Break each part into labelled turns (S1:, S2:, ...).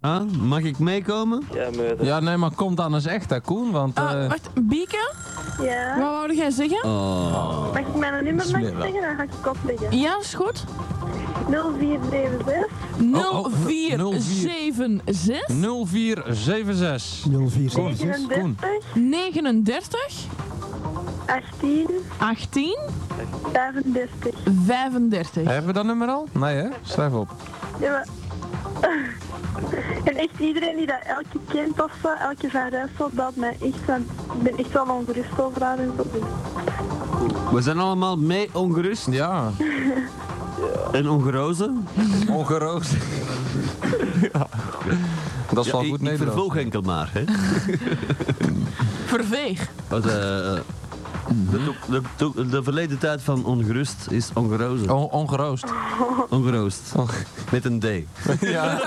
S1: aan. Mag ik meekomen?
S2: Ja, meurder.
S3: Ja, nee, maar kom dan eens echt, hè, Koen. Want
S4: Ah,
S3: eh,
S4: wacht, Bieke,
S5: Ja.
S4: wat wou jij zeggen?
S1: Oh.
S5: Mag ik mijn nummer nog
S3: Smeerlap.
S5: zeggen? Dan ga ik opleggen.
S4: Ja, is goed.
S5: 0476
S3: oh, oh,
S4: 0476
S3: 0476.
S6: 04.
S3: Koen, Koen.
S5: 39
S4: 39
S5: 18
S4: 18
S5: 35.
S4: 35.
S3: Hebben we dat nummer al? Nee, hè? Schrijf op.
S5: Ja, maar... En echt iedereen die dat elke kind of zo, elke van Rijssel, belt mij echt. want Ik ben echt wel ongerust over haar en zo. dus.
S1: We zijn allemaal mee ongerust
S3: Ja,
S1: en ongerozen.
S3: ongeroost. Ja. Dat is
S1: Ja,
S3: wel
S1: ik, ik
S3: goed Nederlands.
S1: vervolg enkel maar. Hè.
S4: Verveeg.
S1: Want, eh, eh, de, toek- de, toek- de verleden tijd van ongerust is ongerozen.
S3: On- ongeroost.
S1: Ongeroost.
S3: Oh.
S1: Met een D.
S3: ja,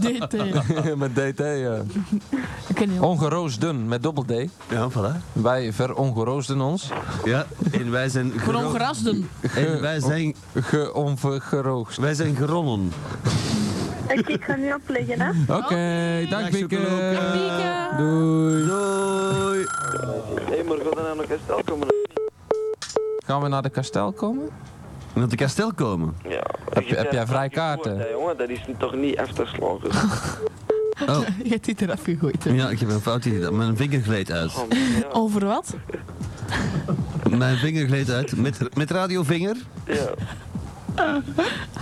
S4: DT.
S3: met DT. ja.
S4: eh, Ik ken
S3: Oh,
S4: die al.
S3: Ongeroosden, met dubbel D.
S1: Ja, voilà.
S3: Wij verongeroosden ons.
S1: Ja, en wij zijn,
S4: Voor
S1: gero-
S4: ongerasden.
S1: en wij zijn,
S3: Geonvergeroogst.
S1: wij zijn geronnen.
S5: Oké, ik ga nu opleggen, hè.
S3: Oké, dank
S1: Dag,
S3: Bieke. Eh.
S1: Chocolonken.
S4: Bieke.
S3: Doei.
S1: Doei.
S2: Hé, maar ga dan naar een kastel komen?
S3: Gaan we naar de kastel komen?
S1: Naar de kastel komen.
S2: Ja.
S3: Heb je- heb jij vrij kaarten?
S2: Ja, jongen, dat is toch niet af te slagen.
S1: Oh,
S4: Je hebt dit eraf gegooid. hè.
S1: ja, ik heb een foutje gedaan. Mijn vinger gleed uit.
S2: Oh, man, ja.
S4: Over wat?
S1: Mijn vinger gleed uit. Met, met radiovinger.
S2: ja.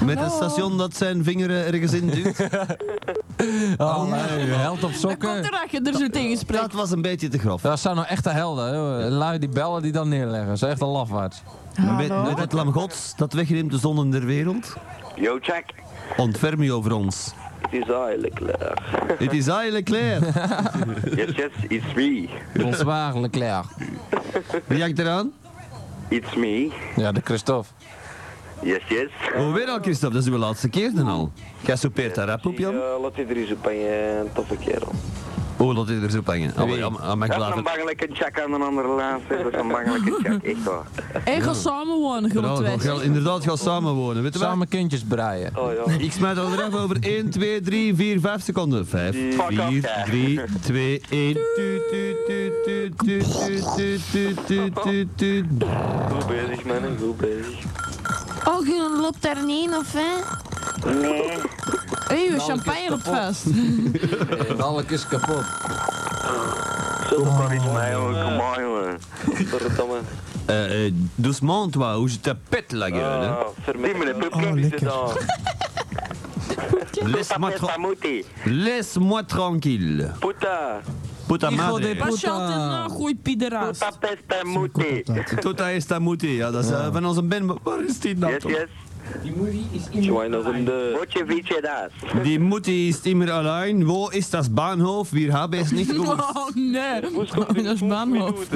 S1: Met het station dat zijn vinger eh, ergens in duwt.
S3: Oh, nee, held op
S4: Komt
S3: sokken.
S4: erachter, er zo tegen
S1: Dat was een beetje te grof.
S3: Dat zijn nou echte helden, hè. lui die bellen die dan neerleggen. Dat is echt een lafaard.
S1: Maar Met, met het lam gods dat wegneemt de zon in der wereld.
S2: Yo, check.
S1: Ontferm je over ons.
S2: Het is eigenlijk klaar.
S1: Het is eigenlijk klaar.
S2: Yes, yes, it's me.
S3: Ons waarlijk klaar.
S1: Wie hangt eraan?
S2: It's me.
S3: Ja, de Christophe.
S2: Yes, yes.
S1: Oh, weer al Christophe, dat is uw laatste keer dan al. Jij soupeert daar rap op, Jan?
S2: Ja, laat iedereen zo bij een eh, toffe kerel.
S1: Oh, laat dit er zo pangen. Allee, aan- aan mijn
S2: Dat is een
S1: klaver.
S2: bangelijke check aan een andere laatste. Dat is een bangelijke check, echt waar.
S4: En ga samen wonen,
S1: Ja,
S4: groot
S1: we gaan Inderdaad, ga samen wonen, weet je wel?
S3: Samen kindjes breien.
S2: Oh ja.
S1: Ik smijt al eraf over 1, 2, 3, 4, 5 seconden. 5,
S2: Fuck off,
S1: 4,
S2: hè.
S1: 3, 2, 1. Tu, tu, tu, tu, tu, tu, tu, tu, tu, tu, tu.
S2: Goed bezig, man. Goed bezig.
S4: Oh, je loopt daar niet in, of hè?
S2: Nee.
S4: Hé, we champagne op vast.
S3: Alles is kapot.
S2: Zullen is mij, jongen. Kom maar, jongen. Godverdomme.
S1: Eh, eh, Dus montre-moi hoe je te pet la gueule.
S2: Ah, Vermeer. Die meneer Pupkin is het dan.
S1: hè. Laisse-moi
S2: Papel
S1: tra-
S2: Pamuti.
S1: Laisse-moi tranquille.
S2: Puta.
S1: Puta
S3: Hijo
S1: madre.
S3: de pa-
S4: Patiënt en nou, goeie piederaas.
S2: Papel Pamuti.
S1: Tota esta muti. Ja, dat is eh, van onze band. Waar is die nou
S2: Yes,
S1: toch?
S2: yes.
S1: Join
S2: no,
S1: us in the-
S2: Botje vietje daas.
S1: Die Mutti ist immer allein. Wo ist das Bahnhof? Wir haben es nicht gewusst.
S4: Oh nee, dat is Baanhoofd.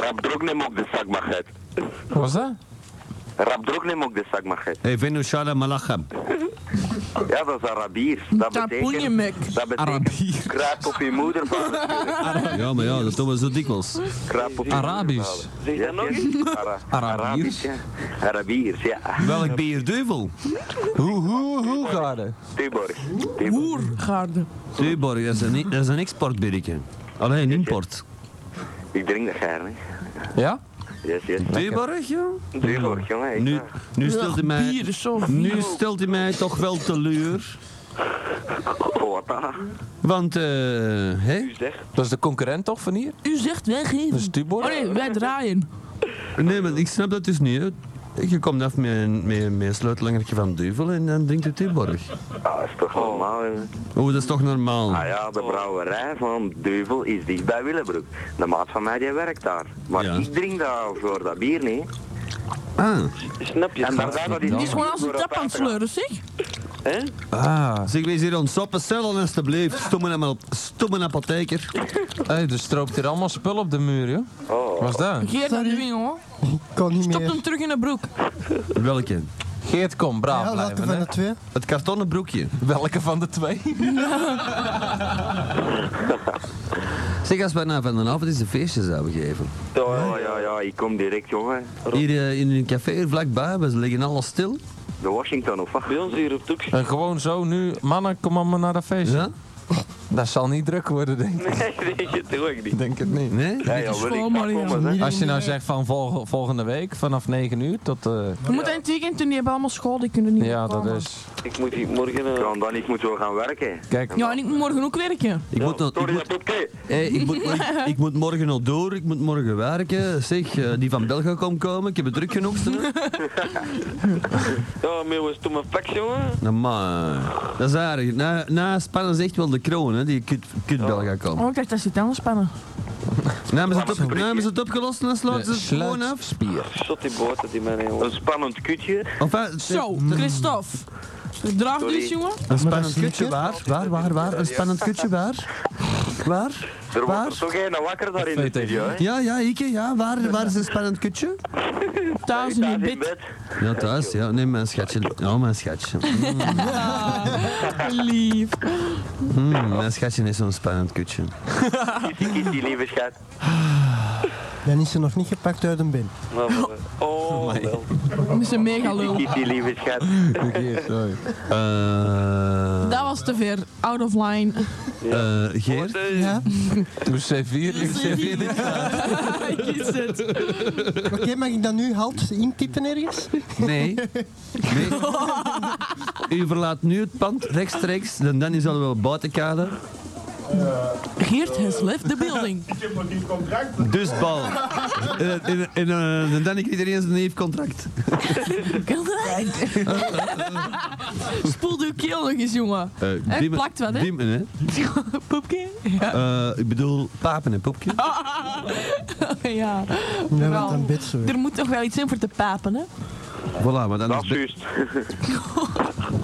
S2: Rap druk neem ook de zak mag het.
S3: Wat was dat?
S2: Rap druk neem ook de zak mag het.
S1: Hey, wenn du Schala Malacham.
S2: Ja, dat is Arabier. Dat betekent...
S4: Tapoenjemek.
S2: Dat betekent... Kruip op je moeder.
S1: Ja, maar ja, dat doen we zo dikwijls.
S2: Kruip op je
S3: Arabisch.
S2: Zeg dat nog eens?
S3: Arabiers.
S2: ja. Arabiers, ja.
S1: Welk bierduivel?
S3: Hoe, hoe, hoe gaat het?
S2: Tuborg. Tuborg.
S4: Hoergaarde.
S1: Tuborg, dat is een, dat is een exportbiertje. Alleen import.
S2: Ik drink dat gaar, hè.
S3: Ja?
S2: Yes, yes.
S1: Tuborg, ja?
S2: Tuborg, jongen. ik-
S1: Nu, nu stelt hij
S4: Bier
S1: mij...
S4: is zo
S1: Nu stelt hij mij toch wel teleur.
S2: Wat dan?
S1: Want, eh... hè?
S2: U zegt...
S3: Dat is de concurrent toch van hier?
S4: U zegt wij geven.
S3: Dat is Tubor.
S4: Oh nee, wij draaien.
S1: Nee, maar ik snap dat dus niet. hè. Je komt af met een, met, een- met een sleutelangertje van duivel en dan drinkt u Tuborg.
S2: Ah, dat is toch normaal, jongen.
S1: Oh, dat is toch normaal?
S2: Ah ja,
S6: Oh.
S2: de brouwerij van Duvel is dicht bij Willebroek. De maat van mij die werkt daar. Maar
S1: Ja.
S2: ik drink daar voor dat bier niet.
S1: Ah.
S2: Snap je? En daarbij dat is
S4: Die is gewoon als een tap aan het sleuren, zeg.
S3: Ah,
S1: Zeg, wees hier ons op, cellen alstublieft. Stomme, am- stomme apotheker.
S3: hey, er stroopt hier allemaal spul op de muur, joh. Wat was dat?
S4: Geert dat nu in, hoor.
S6: Kan niet
S4: Stop
S6: meer.
S4: hem terug in de broek.
S1: Welke?
S3: Geert, kom, braaf
S6: Ja, welke
S3: blijven,
S6: van
S3: hè.
S6: de twee?
S1: Het kartonnen broekje.
S3: Welke van de twee?
S1: Zeg, als wij nou van de avond eens een feestje zouden geven.
S2: Oh, Ja, ja, ja, ik kom direct, jongen.
S1: Hier eh, in een café, hier vlakbij, we liggen allemaal stil.
S2: De Washington of wat?
S6: Bij ons hier op Toeks.
S3: Eh, gewoon zo nu, mannen, kom allemaal naar dat feestje.
S1: Ja?
S3: Dat zal niet druk worden, denk ik.
S6: Nee, nee, dat doe ik niet.
S3: Denk het niet.
S1: Nee?
S2: Nee, joh, wil ik. Kom
S4: gewoon maar
S2: maar, zeg.
S4: niet.
S3: Als je nou zegt van vol- volgende week, vanaf 9 uur tot... eh,
S4: We moeten in het weekend doen, die hebben allemaal school, die kunnen niet
S3: ja,
S4: meer
S3: dat
S4: komen.
S3: is...
S6: Ik moet hier morgen... eh,
S2: Dan, dan ik moet wel gaan werken.
S3: Kijk,
S4: Ja, en ik moet morgen ook werken.
S1: Ik moet, nog, ik,
S2: Sorry,
S1: moet,
S2: dat oké.
S1: hé, ik, moet, ik, ik moet morgen nog door, ik moet morgen werken. Zeg, eh, die van België komt komen, ik heb het druk genoeg. zeg.
S6: Ja, maar was toen mijn fax, jongen.
S1: Nou, maar, dat is aardig. Na, na Spannen is echt wel de kroon, hè, die kut, kut België komt.
S4: Oh, ik dacht dat ze het anders spannen.
S1: Namen ze het, op, namen ze het opgelost en dan sluiten ze het gewoon af.
S3: sluitspier.
S6: Shot die boten die mij, jongen.
S2: Een spannend kutje.
S1: Enfin, eh, het-
S4: Zo,
S3: Mm.
S4: Christophe. Draag
S2: Sorry.
S4: dit, jongen.
S1: Een spannend kutje, waar? Waar, waar, waar? Een spannend kutje, waar? Waar?
S2: Er
S1: Waar?
S2: wordt er toch een wakker daar in de
S3: Feit, hè.
S2: studio, hè?
S1: Ja, ja, ik, ja. Waar, waar is een spannend kutje?
S4: Thuis in je
S2: Thuis in
S4: bed.
S2: bed.
S1: Ja, thuis, ja. Nee, mijn schatje. Ja, Oh, mijn schatje.
S4: Lief.
S1: Mm, mijn schatje is zo'n spannend kutje.
S2: Kitty, kitty, lieve schat.
S7: Dan is ze nog niet gepakt uit een bin.
S6: Nou, maar, eh, Oh, wel.
S4: Dat is een mega lul.
S2: Kitty, lieve schat.
S1: Eh
S4: Dat was te ver. Out of line.
S1: eh Geert?
S6: Boten,
S3: Toen C4, ik C4.
S4: Is het.
S7: Oké, mag ik dan nu halt intypen ergens?
S1: Nee. nee. U verlaat nu het pand rechtstreeks. Dan dan is al wel buiten kade.
S4: Geert has left the building.
S1: Dus bal. En, en, en, eh, en dan krijgt iedereen zijn neefcontract.
S4: Kan dat echt? Spoel uw keel nog eens, jongen.
S1: Eh,
S4: Hij
S1: Diemen-
S4: plakt wat, hè?
S1: Diemen, hè?
S4: Poepje? Ja.
S1: Eh, ik bedoel, papen en poepje.
S4: Ah. ja.
S7: Ja,
S4: Wel.
S7: want dan bed ze weer.
S4: Er moet toch wel iets in voor te papen, hè?
S1: Voilà, maar dan
S2: Dat is
S1: is be-
S2: juist.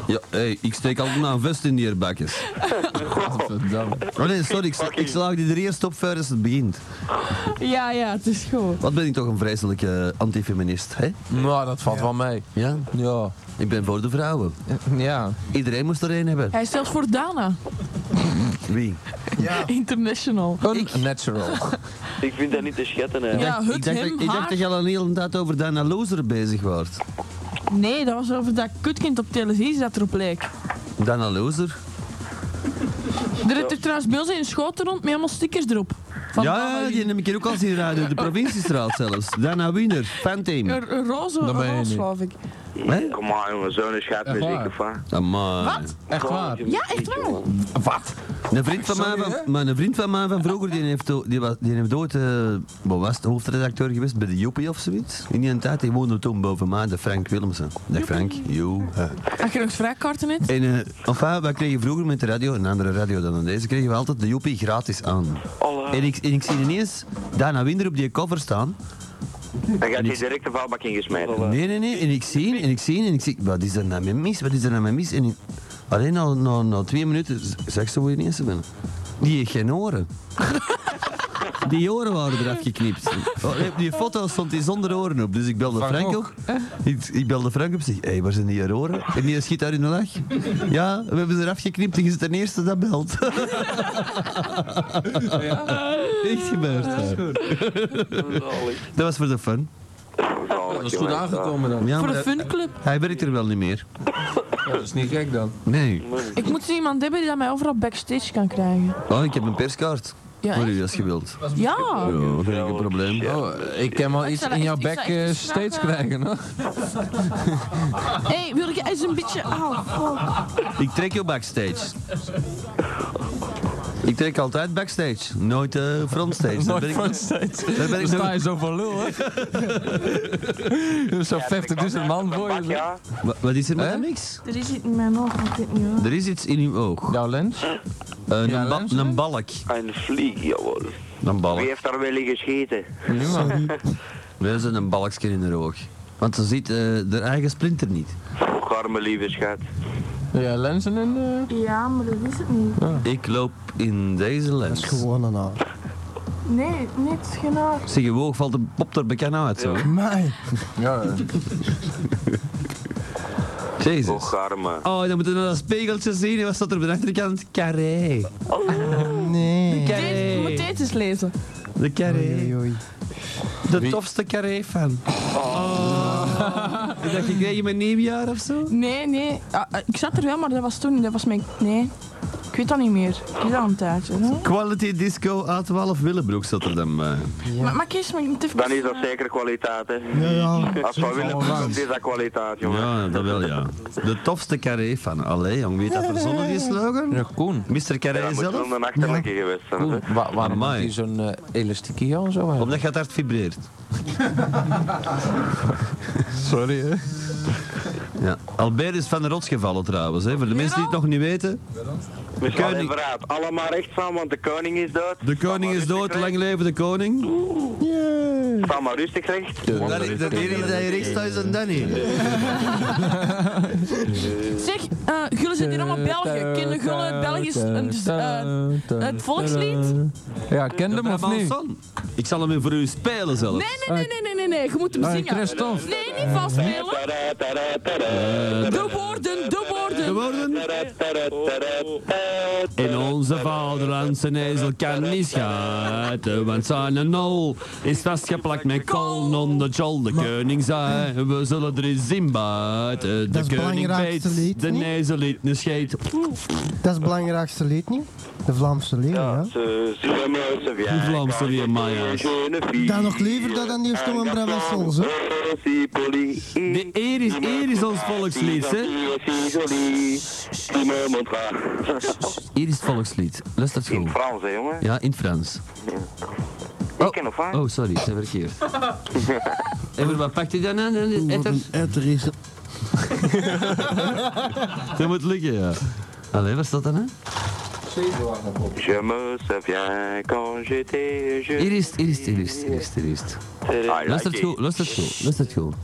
S1: Ja, hey, ik steek altijd mijn vest in die bakjes. Oh nee, sorry, ik, sla- ik slaag die er eerst op ver als het begint.
S4: Ja, ja, het is goed.
S1: Wat ben ik toch een vreselijke antifeminist, hè?
S3: Nou, dat valt wel mee.
S1: Ja,
S3: Ja.
S1: ik ben voor de vrouwen.
S3: Ja.
S1: Iedereen moest er één hebben.
S4: Hij is zelfs voor Dana.
S1: Wie?
S4: International.
S3: Een natural.
S6: Ik vind dat niet te schatten, hè.
S4: Ja,
S1: ik
S4: Ah,
S1: dacht,
S4: het, hem,
S1: dat- ik dacht
S4: haar.
S1: dat je al een hele tijd over Dana Lozer bezig was.
S4: Nee, dat was over dat kutkind op televisie dat erop leek.
S1: Dana Lozer?
S4: Er zit er trouwens bij ons in een schoot rond met allemaal stickers erop. Van
S1: Ja, ja, die neem ik hier ook al zien rijden. De provinciestraat zelfs. Dana Wiener, fanteam.
S4: Een, een roze,
S3: Dat ben je
S4: roze
S3: niet.
S4: geloof ik.
S1: Hè?
S2: Kom maar, jongen, zo'n schat
S3: Echt
S2: muziek
S3: waar?
S2: of wat?
S1: Amai.
S4: Wat?
S3: Echt waar?
S4: Ja, echt wel.
S3: Wat?
S1: Een vriend van,
S3: Sorry,
S1: mij,
S3: hè?
S1: van, maar een vriend van mij van vroeger, die heeft, o- die was, die heeft ooit, eh, wat was het, hoofdredacteur geweest bij de Joepie of zoiets. In die tijd, die woonde toen boven mij, de Frank Willemsen. Dag Frank, joe.
S4: Had je nog vrijkaarten net?
S1: En eh, enfin, wij kregen vroeger met de radio, een andere radio dan deze, kregen we altijd de Joepie gratis aan.
S2: Oh,
S6: Alla.
S1: En ik, en ik zie ineens Dana Winder op die cover staan.
S2: Dan gaat hij direct de vuilbak ingesmeten.
S1: Nee, nee, nee. En ik zie, en ik zie, en ik zie, wat is er nou mee mis? Wat is er nou mee mis? En ik- alleen na, na, na twee minuten z- zag ze hoe je ineens binnen. Die heeft geen oren. Die oren waren eraf geknipt. Oh, nee, op Die foto stond die zonder oren op, dus ik belde
S3: Van
S1: Frank
S3: Gogh.
S1: op. Ik, ik belde Frank op en zeg, hé, hey, waar zijn die haar oren? En die schiet daar in de lach. Ja, we hebben ze eraf geknipt en je is de eerste dat belt. Echt gebeurd.
S6: Zalig.
S1: Dat was voor de fun.
S2: Dat
S1: Ja,
S3: dan.
S4: Voor
S1: maar
S4: de
S1: dat-
S4: funclub.
S1: hij werkt er wel niet meer.
S3: Dat is niet gek dan.
S1: Nee.
S4: Ik moet zo iemand hebben die dat mij overal backstage kan krijgen.
S1: Oh, ik heb een perskaart.
S4: Ja,
S1: voor u als je wilt.
S4: Ja.
S1: Ja, geen enkel probleem.
S3: Oh, ik kan wel
S4: Ik
S3: iets
S4: zou dat
S3: in jouw
S4: echt- ik
S3: bek
S4: zou echt
S3: eh,
S4: iets
S3: steeds
S4: vragen.
S3: krijgen, hoor.
S4: Hé, hey, wil ik eens een beetje... Au, oh.
S1: Ik trek jou backstage. Ik trek altijd backstage, nooit eh, frontstage. Daar ben ik,
S3: steeds.
S1: daar ben
S3: Dan
S1: ik
S3: sta
S1: nog-
S3: je zo van lul, hè. Zo 50 dus een man voor je. zo.
S2: Ja,
S1: Wa- Wat is er met
S3: Hè?
S1: hem? niks?
S4: Er is iets in mijn oog, ik weet niet wat.
S1: Er is iets in uw oog.
S3: Jouw lens?
S1: Eh, een,
S3: Ja,
S1: ba-
S3: luister.
S1: een balk.
S6: Een vlieg, jawel.
S1: Een
S2: wie
S1: balk.
S2: heeft daar wel in gescheten?
S1: We zijn een balkje in haar oog. Want ze ziet eh haar eigen splinter niet.
S2: Och, arme lieve schat.
S3: Ja, lenzen en... eh,
S5: Ja, maar dat is het niet.
S1: Ik loop in deze
S7: Dat is
S1: lens.
S7: gewoon een haar.
S5: Nee, niets genaamd.
S1: Zeg, je oog valt een pop er bekend uit. Zo.
S7: Mij.
S3: Ja, eh.
S1: Jezus.
S2: Och, arme.
S1: Oh, dan moeten we naar dat spegeltje zien. En Wat staat er op de achterkant? Carré. Ah,
S7: Nee.
S4: Deze- Je moet
S1: Carré.
S4: Oh. dit eens lezen.
S1: De carré.
S7: Oei, oei, oei.
S4: Oh.
S1: De tofste carré fan. dat gekregen met nieuwjaar of zo?
S4: Nee, nee. Ah, ah, ik zat er wel, maar dat was toen. Dat was mijn. Nee. Ik weet dat niet meer. Het is al een tijdje. hè.
S1: Quality Disco A12 Willebroek zat er dan eh. bij.
S4: Maar, maar Kees, maar je moet even.
S2: Dan is dat zeker kwaliteit, hè.
S7: Ja, ja.
S2: Als we willen, dan is dat kwaliteit, jongen.
S1: Ja, dat wel, ja. De tofste carré van. Allee, jong, weet dat verzonnen die slogan?
S3: Ja, Koen.
S1: Mr. Carré
S2: Dat moet wel
S1: zelf?
S2: een achterlijke geweest zijn. hè.
S3: Koen, wa- waarom
S1: Amai.
S3: moet hier zo'n eh, elastiekje aan zo hebben?
S1: Omdat je het hard vibreert.
S3: Oh, Sorry, hè.
S1: Ja. Albert is van de rots gevallen trouwens. Hè. Voor de mensen die het nog niet weten. De
S2: Allee,
S1: koning,
S2: vooruit. Allemaal recht staan, want de koning is dood.
S1: de koning is dood, lang leven de koning.
S2: Sta maar rustig recht.
S1: Dat is de enige die hier rechts thuis en Danny.
S4: Zeg, eh Gullen zit hier allemaal Belgen. Kennen Gullen België is een- dus, eh, het volkslied?
S3: Ja, ken hem of niet?
S1: Ik zal hem weer voor u spelen zelf.
S4: Nee, nee, nee, nee, nee, nee, nee. Je moet hem
S3: Eh,
S4: zingen.
S3: Christophe.
S4: Nee, niet vastspelen.
S2: Tada, tada,
S1: Eh.
S2: tada.
S4: De woorden, de
S1: De
S4: woorden.
S1: woorden?
S2: Tada, tada, tada, tada.
S1: In onze vaderland zijn ezel kan niet schaten, want zijn nol is vastgeplakt met kool on de jol. De koning zei, we zullen er eens in buiten. De
S7: Dat is het
S1: koning
S7: belangrijkste
S1: weet,
S7: lied,
S1: de
S7: niet?
S1: ezel liet een scheet.
S7: Dat is het belangrijkste lied niet? De Vlaamse leeuw, ja.
S2: Ze zullen me ze weer.
S1: Hoe Vlaams er weer mij uit.
S7: Dan nog liever dat dan die stomme Brabantsols, hè?
S1: De eer is, eer is ons volkslied, hè? Eer is het volkslied. Lust dat
S2: In
S1: school.
S2: het Frans, hè, jongen.
S1: Ja, in het Frans.
S2: Ik ken nog vaak.
S1: Oh, sorry, ik zei verkeerd. Even, wat pakt hij dan aan? Etters?
S7: Etter is
S1: Dat moet lukken, ja. Allee, wat staat dat dan, hè?
S2: Je me souviens quand j'étais
S1: Hier
S2: jeune. Ah,
S1: is het, hier is het, hier is het, hier is het, hier is het.
S2: I like
S1: Luister het
S2: it.
S1: goed, luister het goed, luister het goed.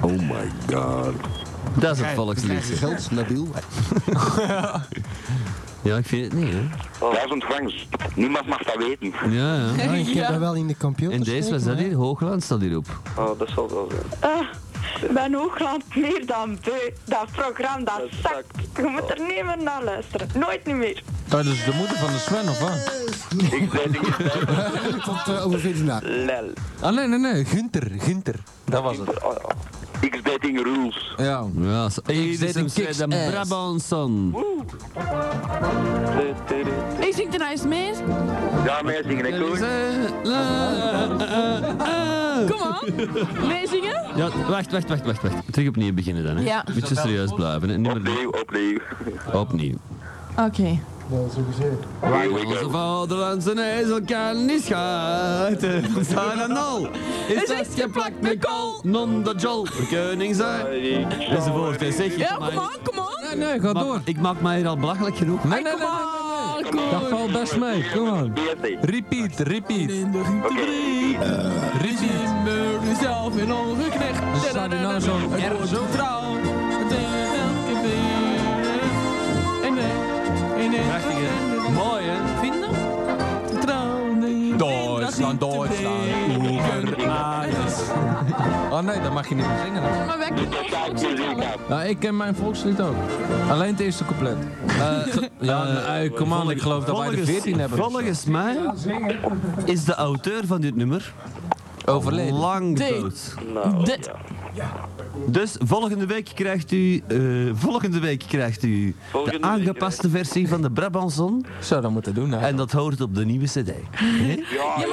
S8: Oh my god.
S1: Dat is het volkslied.
S8: Geld, Nabil.
S1: Ja, ik vind het niet, hè.
S6: Oh.
S2: Dat is ontvangst. Niemand mag dat weten.
S1: Ja, ja.
S7: Ja, ik heb
S4: Ja.
S7: dat wel in de computer
S1: En deze, was
S7: steken,
S1: dat
S7: hè.
S1: hier? Hoogland staat hierop.
S6: Oh, dat zal wel zijn.
S9: Ah, mijn Hoogland meer dan beu. Dat programma, dat zakt. Je moet er niet meer naar luisteren. Nooit niet meer.
S3: Oh, dat is de moeder van de Sven, of wat?
S2: Ik ben niet
S8: Tot eh, over 14 jaar.
S6: Lel.
S3: Ah, nee, nee, nee. Gunter, Gunter. Dat was het.
S6: Oh, Eh. ja.
S2: X-dating rules.
S3: Ja.
S1: Ja, zo- hier
S3: zit
S1: is
S3: een
S1: een
S3: kiks
S1: Zweden
S3: ass.
S1: Brabantson.
S4: Ik zing er nou eens mee.
S2: Ja, mij zingen ik hoor.
S4: Kom aan. Meezingen?
S1: Ja, wacht, wacht, wacht, wacht, wacht. Terug opnieuw beginnen dan, hè.
S4: Ja.
S1: Beetje serieus blijven, hè. Nummer
S2: Opnieuw, opnieuw.
S1: opnieuw.
S4: Oké.
S1: Onze vaderlandse ezel kan niet schaten. Zijn en al is vastgeplakt met kool. Non de jol, de koning zijn. Enzovoort, hè. zeg.
S4: Ja, kom aan, kom aan.
S3: Nee, nee, ga
S1: Maar
S3: door.
S1: Ik maak mij hier al belachelijk genoeg.
S3: Nee, nee, nee, nee.
S4: Ah,
S3: nee,
S4: kom.
S3: nee. Dat valt best mee. Kom aan.
S2: BSD.
S3: Repeat,
S2: Oké.
S3: repeat.
S4: Eh,
S3: Repeat.
S4: Zelf in ongeknecht.
S3: Dan staat hij nou zo'n erg zo
S4: trouw. Elke En
S1: Prachtig, hè? Mooi, hè?
S4: vinden?
S3: Duitsland, Duitsland, over alles. Oh nee, dat mag je niet meer zingen.
S4: Maar wij kunnen ook goed zingen.
S3: Nou, ik ken mijn volkslied ook. Alleen het eerste couplet. Eh, ja, nee, kom aan, ik geloof dat wij de
S1: Volgens-
S3: 14 hebben.
S1: Volgens mij is de auteur van dit nummer
S3: Overleden.
S1: lang
S4: Nee.
S1: dood.
S6: Nou,
S4: Dit.
S6: ja.
S1: Dus volgende week krijgt u, eh, volgende week krijgt u de
S6: Volgende week
S1: aangepaste versie van de Brabantson.
S3: Zou dat moeten doen, hè?
S1: En dat hoort op de nieuwe cd.
S4: Ja, maar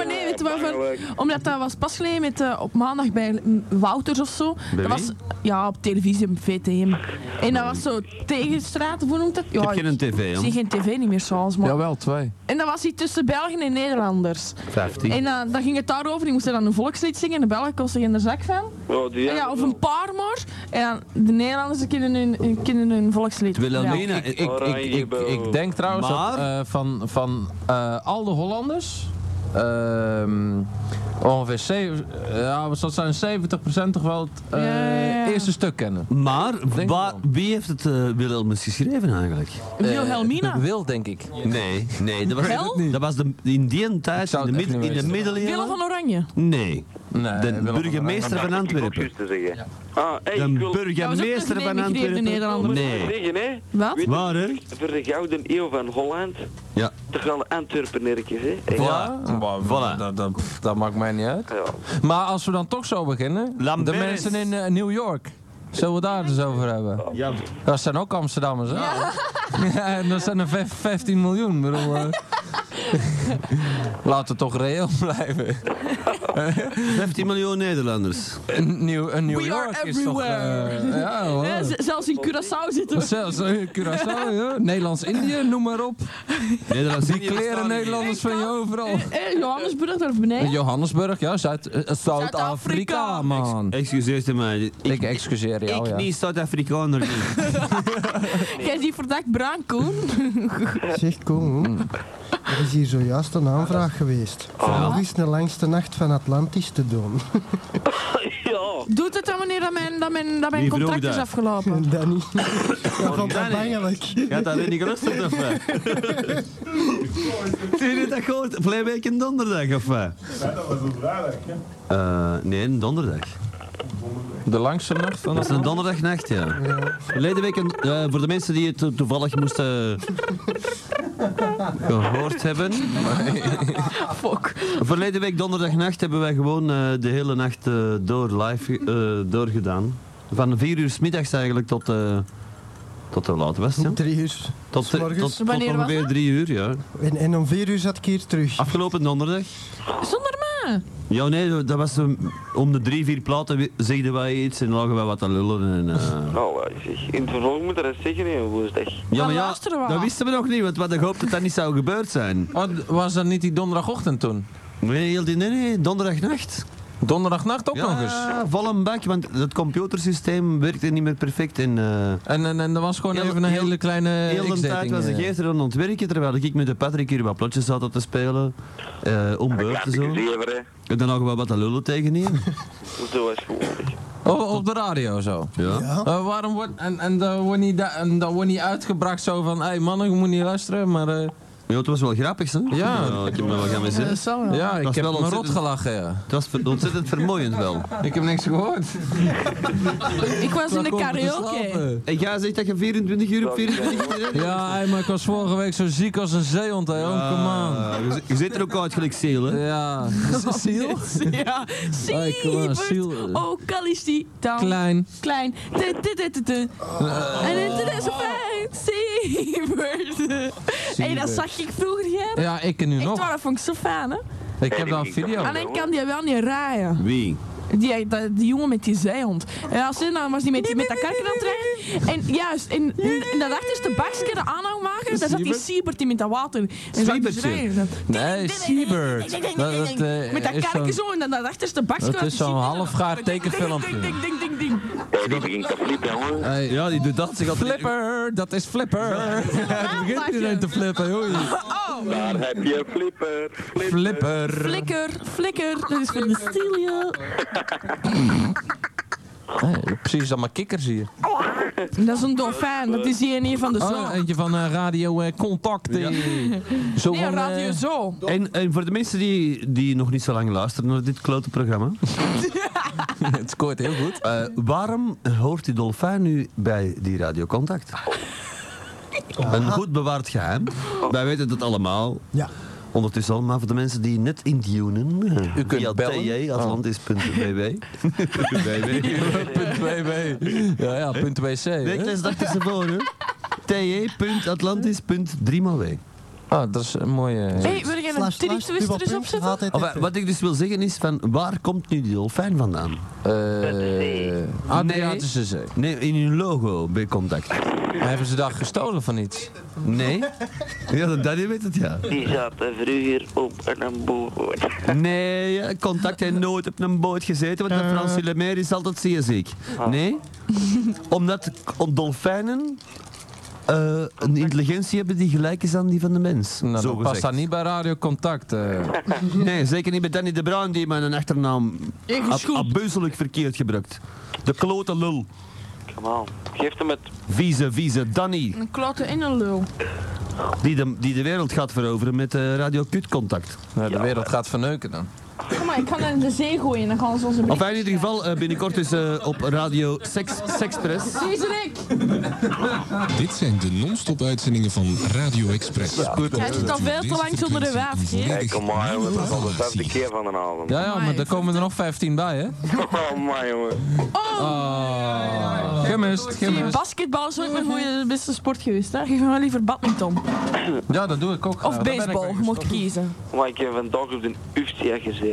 S4: nee, weet je waarvan? Omdat dat was pas geleden met, eh, op maandag bij mm, Wouters of zo.
S1: wie?
S4: dat was Ja, op televisie, op VTM. En dat was zo tegenstraat, hoe noemt dat? Ja,
S1: Ik heb geen tv,
S4: ik zie
S1: jong.
S4: geen tv niet meer s'avonds, maar...
S3: Jawel, twee.
S4: En dat was hij tussen Belgen en Nederlanders.
S1: 15.
S4: En eh, dan ging het daarover, die moesten dan een volkslied zingen, de Belgen kosten er geen zak van.
S6: Oh, die
S4: Ja, of een paar maar. En dan de Nederlanders kunnen hun, kunnen hun volkslied.
S1: Wilhelmina,
S4: Ja.
S1: ik,
S3: Ik, ik, ik, ik denk trouwens dat
S1: Maar-
S3: eh, van, van eh, al de Hollanders. ehm, ongeveer zeven- eh, ja, wat zal het zijn 70% toch wel het eh,
S4: Ja, ja, ja.
S3: eerste stuk kennen.
S1: maar
S3: Denk
S1: waar,
S3: wel.
S1: wie heeft het eh Wilhelmus geschreven eigenlijk?
S4: Wilhelmina.
S3: Eh, Wil, denk ik.
S1: Nee, nee, dat was,
S4: Wel?
S1: dat was de, in die tijd, in
S3: zou
S1: de,
S3: het echt
S1: mid,
S3: niet
S1: in de
S3: weten.
S4: Willem
S1: middeleeuwen.
S4: van Oranje.
S1: Nee, de
S3: Nee, Willem-
S1: burgemeester van
S2: Ik ook
S1: Antwerpen.
S2: juist te zeggen. Ah, hey,
S1: De
S6: ik wil...
S1: burgemeester
S4: Ja, we
S1: van
S4: zoeken een
S1: Antwerpen.
S4: Nederlander.
S1: Nee.
S6: Zeggen, hè.
S4: Wat?
S6: Weet-
S1: Waar, hè?
S6: Voor de gouden eeuw van Holland,
S1: Ja.
S6: toch wel Antwerpen ergens, hè.
S1: Voilà.
S3: Maar
S1: Voilà.
S3: Dat, dat, pff, dat maakt me mij niet uit.
S6: Ja.
S3: Maar als we dan toch zo beginnen, de
S10: Lambert.
S3: mensen in eh, New York. Zullen we daar dus over hebben?
S10: Ja,
S3: Dat zijn ook Amsterdammers, hè? Ja. en dat zijn er vijf- 15 miljoen. Ik Bedoel, eh. Laten we toch reëel blijven.
S1: 15 miljoen Nederlanders.
S3: Een New, een New
S4: We are
S3: York is toch... eh,
S4: everywhere.
S3: ja, hoor.
S4: Ja, Eh, z- zelfs
S3: Oh.
S4: in Curaçao zitten we.
S3: Zelfs eh, Curaçao, ja. Nederlands-Indië, noem maar op.
S1: Nederlands
S3: Die kleren Nederlanders van je overal.
S4: Eh, Johannesburg, daar beneden.
S3: Johannesburg, ja, Zuid- eh, Zuid-Afrika,
S4: Zuid-Afrika.
S3: man.
S1: Excuseer mij.
S3: Ik excuseer jou, ja.
S1: Zuid-Afrikaner niet.
S4: Jij ziet verdacht bruin, Koen.
S7: Zeg, Koen.
S1: Mm.
S7: Er is hier zojuist een aanvraag geweest.
S1: Ah.
S7: Wat is de langste nacht van Atlantis te doen?
S6: Ja.
S4: Doet het dan wanneer dat mijn, dat mijn, dat mijn
S1: Wie vroeg
S4: contract is
S1: dat?
S4: afgelopen?
S7: Dat niet. Dat vond dat
S1: Danny.
S7: bangelijk.
S1: Gaat alleen niet gerust of wat? Zie je dat gehoord? Vorige week een donderdag of wat? dat was een vrijdag, Nee, een donderdag.
S3: De langste nacht van
S1: Oh, Dat is een donderdagnacht, ja. Verleden week, een- eh, voor de mensen die het to- toevallig moesten gehoord hebben.
S4: Fuck.
S1: Verleden week donderdagnacht hebben wij gewoon eh, de hele nacht eh, door live ge- eh, doorgedaan. Van 4 uur 's middags eigenlijk tot, eh tot hoe laat was het? ja?
S7: Drie uur.
S1: Tot, tot,
S7: S'morgens.
S1: tot
S4: Wanneer was
S1: ongeveer
S4: dat?
S1: 3 uur, ja.
S7: En, en om vier uur zat ik hier terug.
S1: Afgelopen donderdag.
S4: Zonder mij.
S1: Ja, nee, dat was een- om de drie, vier platen we- zegden wij iets en lagen wij wat te lullen. En, eh,
S6: Nou, eh, zeg, in het vervolg moet er eens zeggen, hè, woensdag.
S1: Ja,
S4: Dan
S1: maar ja,
S4: luisteren we
S1: dat
S4: af.
S1: wisten we nog niet, want we hadden gehoopt dat dat niet zou gebeurd zijn.
S3: Oh, d- was dat niet die donderdagochtend toen?
S1: Nee, heel die- nee, nee, donderdagnacht.
S3: Donderdagnacht ook nog eens.
S1: Ja, vol een bak, want het computersysteem werkte niet meer perfect. En, eh
S3: En, en, en er was gewoon
S1: Heel-
S3: even een
S1: heel-
S3: hele kleine
S1: heel de tijd
S3: X-dating,
S1: was ik
S3: eh.
S1: eerst aan het ontwerken, terwijl ik met de Patrick hier wat plotjes zat te spelen. eh om beurten zo.
S6: Leveren,
S1: En dan nog wel wat te lullen tegenin.
S6: zo is gewoon.
S3: Oh, op de radio zo.
S1: Ja.
S3: Eh, waarom wordt. En, en dat wordt niet, da- en dat wordt niet uitgebracht zo van. Hé hey, mannen, je moet niet luisteren. Maar eh,
S1: Ja, het was wel grappig, hè?
S3: Ja.
S1: ik heb me wel gaan
S4: Eh,
S1: zitten.
S4: zo wel.
S3: ja, ik
S1: was
S3: heb
S1: wel
S3: me rot
S1: ontzettend-
S3: gelachen. Ja.
S1: Het was ver- ontzettend vermoeiend wel.
S3: Ik heb niks gehoord.
S4: Ik was in de karaoke.
S1: En jij zegt dat je 24 uur op 24 uur...
S3: Ja, hey, maar ik was vorige week zo ziek als een zeehond, hè. Oh, come on.
S1: Ah, je, zit- je zit er ook uit gelijk ziel, hè?
S3: Ja, Cecile.
S4: Ja,
S3: Hey, come on,
S4: Siebert.
S3: Siel. eh.
S4: Oh, Callisti. Down.
S3: Klein. Eh.
S4: Klein. Dit, dit, dit, dit, dit. En dit is een fijn. Siebert. Hé, dat zag ik vroeger, jij.
S3: Ja, ik en nu
S4: Echt waar, Ah,
S3: nog.
S4: dat vond ik zo fijn, hè.
S3: Ik heb daar een video.
S4: Alleen kan die wel niet rijden.
S1: Wie?
S4: Die, eh, die, die jongen met die zeehond. En als nou hij dan was die met, die- met dat karken aan het rijden. En juist, in, in dat achterste bakje, de aanhangwagen, daar zat die Siebert in met dat water. En zat die
S1: Siebertje.
S4: rijden.
S3: Nee, Seabird. Dat, dat, eh,
S4: Met dat
S3: is
S4: karken
S3: zo'n-
S4: zo en dan dat achterste bakje.
S3: dat
S4: waar die
S3: is zo'n
S4: Siebert-
S3: halfgaar tekenfilmpje.
S4: Ding, ding, ding, ding, ding.
S6: Ja, die begint te flippen, jongen.
S3: Hey,
S1: Ja, die doet dat. Ze gaat
S3: Flipper, dat is Flipper. Hij begint iedereen te flippen, oei.
S6: Daar heb je flipper, flipper.
S3: Flipper.
S4: Flikker, flikker, dat is voor de Cecilia.
S3: Hey, precies, allemaal kikkers hier.
S4: Dat is een dolfijn, dat is die een van de
S3: Oh,
S4: zon.
S3: eentje van eh, Radio eh, Contact. eh. Zo
S4: Nee,
S3: van, eh,
S4: radio zo.
S1: En, en voor de mensen die, die nog niet zo lang luisteren naar dit klote programma,
S3: het scoort heel goed.
S1: eh, waarom hoort die dolfijn nu bij die radiocontact? Een goed bewaard geheim. Wij weten dat allemaal.
S7: Ja.
S1: Ondertussen allemaal voor de mensen die net intunen. U
S3: kunt bellen. Ah.
S1: atlantis.bw.
S3: Punt WW. Ja, ja, punt WC.
S1: Nee,
S3: hè?
S1: dat is dacht ze voor, hè. TJ.atlantis.driemaalwee.
S3: Ah, dat is een mooie... eh,
S4: Hé, hey, wil jij een
S7: Slash, slash,
S4: trick
S7: dubbel
S4: er eens
S7: punt,
S4: opzetten?
S7: HTTP.
S1: Of, eh, Wat ik dus wil zeggen is van waar komt nu die dolfijn vandaan?
S3: eh, Adriatische Zee.
S1: Nee, in hun logo bij contact.
S3: Hebben ze daar gestolen van iets?
S1: Nee? Ja, dat Danny weet het ja.
S6: Die zaten vroeger op een boot.
S1: Nee, ja, contact heeft nooit op een boot gezeten, want de Fransie Lemaire is altijd zeer ziek. Nee? Omdat om dolfijnen eh, een intelligentie hebben die gelijk is aan die van de mens.
S3: Nou,
S1: zo
S3: dan past dat
S1: gezegd.
S3: niet bij Radio Contact. eh.
S1: Nee, zeker niet bij Danny de Bruin die met een achternaam ab- abuuselijk verkeerd gebruikt. De klote lul.
S6: Come on. Geef hem het.
S1: Vieze, vieze Danny.
S4: Een klote en een lul.
S1: Die de, die de wereld gaat veroveren met eh Radio Kutcontact.
S3: Nou, de wereld gaat verneuken dan.
S4: Kom maar, maar ik kan hem in de zee gooien en dan gaan ze onze blik.
S1: Enfin, in ieder geval, eh, binnenkort is eh, op Radio Sex, Sexpress.
S4: Deze Rick!
S10: Dit zijn de non-stop uitzendingen van Radio Express.
S4: Hij zit al veel te lang zonder de waaf, hè?
S2: Hey, kom maar, jongen, dat is al de vijfde keer van de avond.
S3: Ja, ja, maar daar komen er nog 15 bij, hè?
S2: Oh, man, jongen.
S3: Oh. Gemist,
S4: Die
S3: gemist.
S4: basketbal is ook mijn goede beste sport geweest, hè? Geef me wel liever badminton.
S3: Ja, dat doe ik ook.
S4: Of
S3: graag. Daar ben ik
S4: baseball,
S3: bij
S4: je mocht kiezen.
S6: Maar ik heb vandaag op de UFC gezeten. zeg.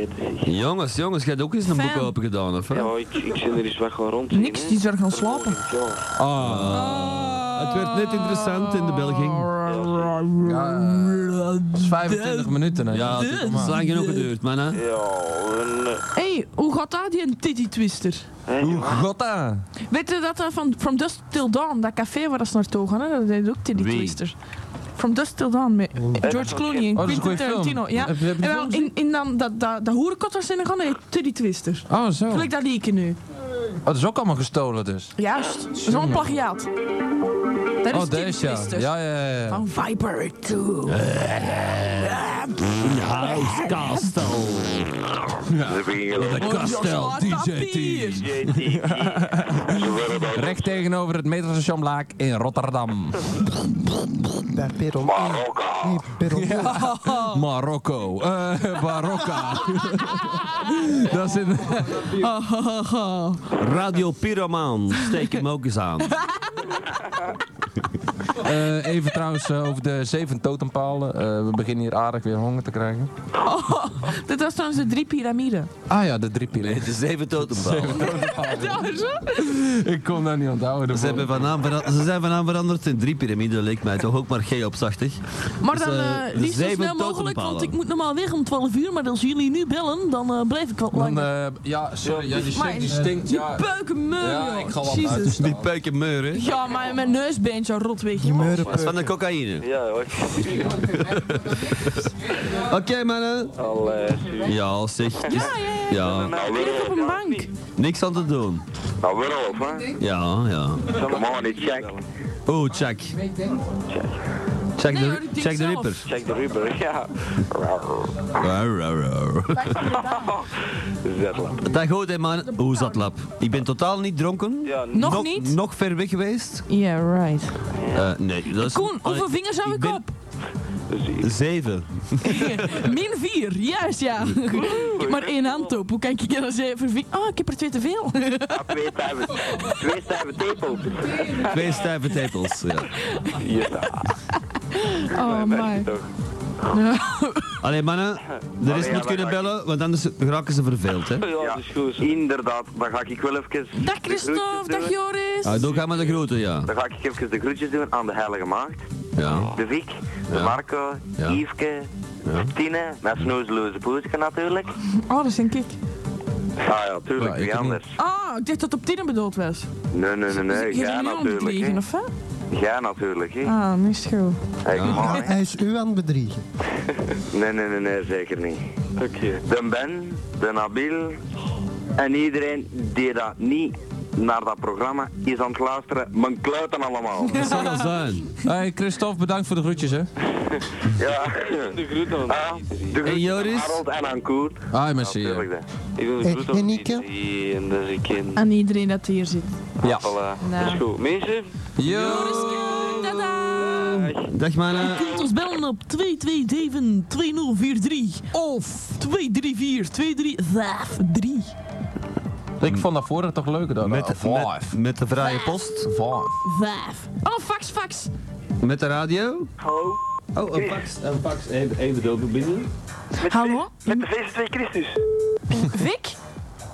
S1: Jongens, jongens, jij hebt ook eens een
S4: Fan.
S1: boek open gedaan, of? hè?
S6: Ja, ik, ik zit er eens weg gaan rond.
S4: Niks, die zou gaan slapen.
S6: Ja,
S1: Ah. Het werd net interessant in de Belging.
S3: Ja, dat is 25 minuten, hè?
S1: Ja, het
S3: Doe
S4: Dus.
S1: het is
S3: maar.
S1: lang genoeg geduurd, man. Hè?
S6: en, eh,
S4: Hé, hey, hoe gaat dat, die een titty twister?
S6: hè,
S3: God, hè.
S4: Weet je dat dat van From Dusk Till Dawn, dat café waar ze naartoe gaan, hè? dat heet ook titty
S1: Wie?
S4: twister. From Dusk Till Dawn met George Clooney en
S3: Oh, dat is een
S4: Quentin
S3: goeie film.
S4: Tarantino. Ja.
S3: Heb je- heb je
S4: En
S3: die
S4: wel,
S3: film
S4: in, in dan, dat, dat, dat hoerenkot waar ze in gaan, dat heet titty twister.
S3: Oh, zo.
S4: Gelijk dat liedje nu.
S3: Oh, dat is ook allemaal gestolen, dus.
S4: Juist, zo'n plagiaat. Dat is
S3: Oh,
S4: titty
S3: deze, ja.
S4: twister.
S3: Ja, ja, ja, ja.
S4: Van Viper 2.
S1: Castel.
S2: Ze beginnen gelijk.
S1: Castel, DJ
S4: Tapir.
S6: JT.
S3: Recht tegenover het metrostation Laak in Rotterdam.
S7: eh, Bij Peron.
S6: Ah,
S7: Nee, Peron.
S4: Oh.
S3: Marokko. Eh Barokka. dat is in...
S1: Radio Pyromaan, steek hem ook eens aan.
S3: Eh, even trouwens eh, over de zeven totempalen. Eh, we beginnen hier aardig weer honger te krijgen.
S4: Dit was trouwens de drie piramiden.
S3: Ah ja, de drie piloten.
S1: De zeven totempalen.
S3: Ik kon daar niet onthouden.
S1: Ze, hebben van naam vera- ze zijn van naam veranderd in drie piramiden, leek mij toch ook maar geopzachtig.
S4: Maar
S1: Dus,
S4: dan
S1: eh,
S4: eh liefst zo
S1: zeven
S4: snel mogelijk,
S1: totempalen.
S4: want ik moet normaal weg om 12 uur. Maar als jullie nu bellen, dan eh, blijf ik wat
S3: Dan,
S4: langer.
S3: eh, ja, sorry, ja, die
S4: Maar-
S3: stinkt, die stinkt, ja.
S4: Peuken meuren,
S3: Ja,
S4: joh.
S3: ik ga wel
S4: Jezus.
S3: buiten staan.
S1: Dus Die peuken meuren.
S4: Ja, maar mijn neusbeentje rot weg.
S7: Die
S4: jongen.
S1: Dat is van de cocaïne.
S6: Ja, hoor.
S1: Oké, mannen.
S6: Al, eh, stuur.
S1: Ja, zeg. het is-
S4: Ja, ja, ja.
S1: Ja,
S6: Nou,
S4: Ik lig
S6: weer
S4: op
S6: op.
S4: een bank.
S1: niks aan te doen.
S2: Nou, weer op, hè.
S1: Ja, ja.
S2: Come on, it's check.
S1: Oh, check. Check
S4: Nee, hoor,
S1: de,
S4: ik denk
S1: check de
S4: zelf.
S1: ripper.
S6: Check de rubber, ja.
S1: Rar, rar, rar.
S6: Zetlap.
S1: Dag goed, hè, man. Hoe zat lap? Ik ben totaal niet dronken.
S6: Ja, n-
S4: Nog niet?
S1: Nog ver weg geweest?
S4: Yeah, right.
S1: Eh, nee, dat is... Ah,
S4: Koen, hoeveel vingers heb
S1: ik
S4: ik,
S1: ben-
S4: op?
S6: dus-
S1: Zeven.
S4: Min vier, juist ja. ik heb maar één hand op. Hoe kan ik je dan zeven vingers... Oh, ik heb er twee te veel.
S2: Ah, Twee stijve, twee stijve tepels.
S1: Twee stijve tepels, ja.
S4: Oh,
S6: Merk
S4: my.
S6: je toch?
S1: Allee, mannen. De rest
S2: Allee,
S1: moet
S2: ja,
S1: kunnen
S2: maar-
S1: bellen, want anders raken ze verveeld, hè.
S6: Ja,
S2: Ja,
S6: dat is goed. zo.
S2: inderdaad. Dan ga ik wel even...
S4: Dag
S2: de groetjes
S4: Christophe, dag
S2: doen.
S4: Joris.
S1: Ah, doe gaan maar de groeten, ja.
S2: Dan ga ik even de groetjes doen aan de Heilige Maagd,
S1: Ja.
S2: de Vic, de
S1: Ja.
S2: Marco,
S1: Ja.
S2: Yveske, Tine, mijn snoezeloze poesje natuurlijk.
S4: Oh, dat is een kik.
S2: Ah ja, tuurlijk,
S3: Ja, ik
S2: wie
S3: ook niet.
S2: anders?
S4: Ah, ik dacht dat het op tien bedoeld was. Dus
S2: Nee, nee, nee, nee,
S4: Je
S2: jij
S4: bent nu aan het
S2: natuurlijk.
S4: liegen,
S2: hè.
S4: of wat?
S2: Jij natuurlijk, hè.
S4: Ah, nu is het goed.
S2: Hey, come on, hè.
S7: Hij is u aan het bedriegen.
S2: Nee, nee, nee, nee, zeker niet.
S6: Oké.
S2: De Ben, de Nabil en iedereen die dat niet naar dat programma is aan het luisteren, mijn kluiten allemaal.
S1: Dat zal wel zijn.
S3: Hey, Christophe, bedankt voor de groetjes, hè.
S2: Ja.
S6: De groeten
S2: Ah,
S6: aan
S2: de
S6: iedereen.
S2: groetjes aan
S1: Joris?
S2: Harold en aan Koert.
S3: Ah, merci. hè.
S2: Natuurlijk, hè.
S6: Ik wil
S7: Hey,
S6: de groeten aan
S7: en Nieke?
S6: iedereen. En dat is een kind.
S4: Aan iedereen dat hier zit.
S3: Ja.
S6: Voilà. Dat is goed. Mensen,
S3: Yo.
S4: Tada!
S1: Dag, mannen.
S4: kunt ons bellen op 227-2043 of 234-2353.
S3: Ik vond dat vorige toch leuker dan. eh,
S1: Met, met,
S3: Five.
S1: met de vrije post.
S3: Five.
S4: Oh, fax, fax.
S1: Met de radio.
S2: Hallo.
S1: Oh, een fax. Een fax. Even, even de open binnen.
S2: Met
S4: Hallo?
S2: de- Met de feest twee Christus.
S4: Vic?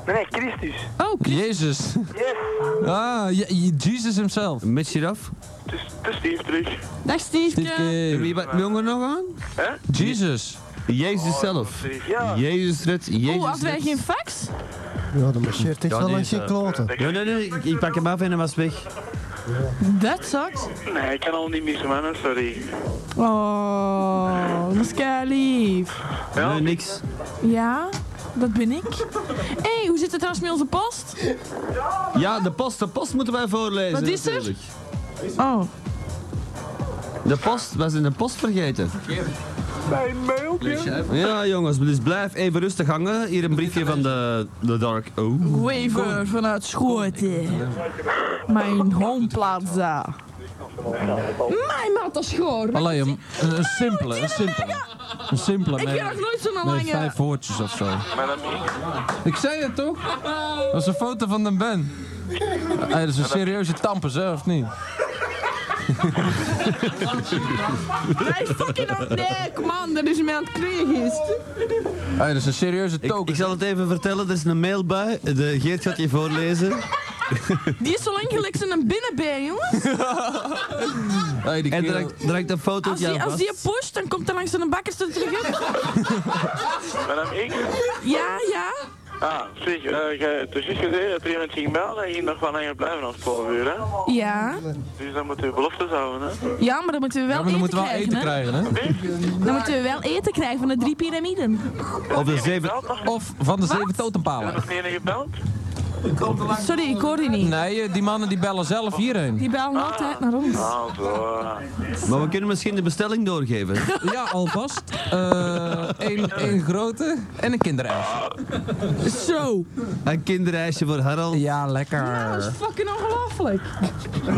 S2: Nee, nee, Christus.
S4: Oh, Chris-
S3: Jezus.
S2: Yes.
S3: Ah, je- je- Jesus himself.
S1: Met giraf.
S2: De Steve terug.
S4: dag Steefje.
S1: En wie
S3: Dit-
S1: bakt jongen nog aan?
S3: Jesus.
S1: Jezus
S6: Oh,
S1: zelf.
S2: Ja.
S1: Jezus red, Jezus
S4: Oh, hadden wij
S1: red.
S4: geen fax?
S7: Ja, dan marcheert echt
S1: Ja,
S7: wel
S1: die
S7: langs
S1: is,
S7: je
S1: eh,
S7: kloten.
S1: Nee, nee, nee, ik, ik pak hem af en hij was weg.
S4: Dat sucks.
S6: Nee, ik kan al niet missen, man. Sorry.
S4: Oh, dat is kei lief.
S1: Nee, niks.
S4: Ja, dat ben ik. Hé, hey, hoe zit het trouwens met onze post?
S1: Ja, de post, de post moeten wij voorlezen.
S4: Wat is er?
S1: natuurlijk.
S4: Oh,
S1: De post, wij zijn de post vergeten.
S6: Mijn mailtje.
S1: Ja, jongens, dus blijf even rustig hangen. Hier een briefje van de, de Dark O.
S4: Waver vanuit Schoten. Mijn homeplaats daar. Mijn mat is schoor.
S3: Alleen een, een simpele, een simpele. Een simpele.
S4: Ik
S3: met-
S4: ben nog nooit zo'n
S3: met
S4: lange-
S3: vijf woordjes of zo. Ik zei het toch? Dat is een foto van de Ben. Hey, dat is een serieuze tampers, hè, of niet?
S4: Hij is fucking op nek, man. Dat is mij aan het krijgen.
S3: Hey, dat is een serieuze token.
S1: Ik, ik zal het even vertellen, er is een mail bij. De Geert gaat je voorlezen.
S4: Die is zo lang gelijk zijn een binnenbeen, jongens.
S3: Hey, die
S1: en
S3: kerel-
S1: direct, direct een foto
S4: Als
S1: van
S4: die,
S1: jou
S4: als die
S1: vast.
S4: pusht, dan komt er langs zijn bakkers er terug in.
S6: Madame ik?
S4: Ja, ja.
S6: Ah, zeg, eh, jij- het is juist gezegd dat er iemand zich melden en je nog wel langer blijven als 12 uur, hè?
S4: Ja.
S6: Dus dan moeten we beloftes houden, hè?
S4: Ja, maar dan moeten we wel
S3: Ja, maar dan
S4: eten
S3: moeten we wel
S4: krijgen,
S3: eten
S4: hè.
S3: krijgen, hè?
S4: Dan moeten we wel eten krijgen van de drie piramiden.
S1: Of de zeven...
S6: Belt nog?
S3: Of van de zeven totempalen.
S6: Nog niet ene gebeld?
S4: Sorry, ik hoor die niet.
S3: Nee, eh, die mannen die bellen zelf hierheen.
S4: Die bellen altijd naar ons.
S6: Ah, zo. eh.
S1: Maar we kunnen misschien de bestelling doorgeven.
S3: Ja, alvast. Eén één grote en een kinderelf.
S4: Zo.
S1: Een kinderreisje voor Harald.
S3: Ja, lekker.
S4: Dat is fucking ongelooflijk.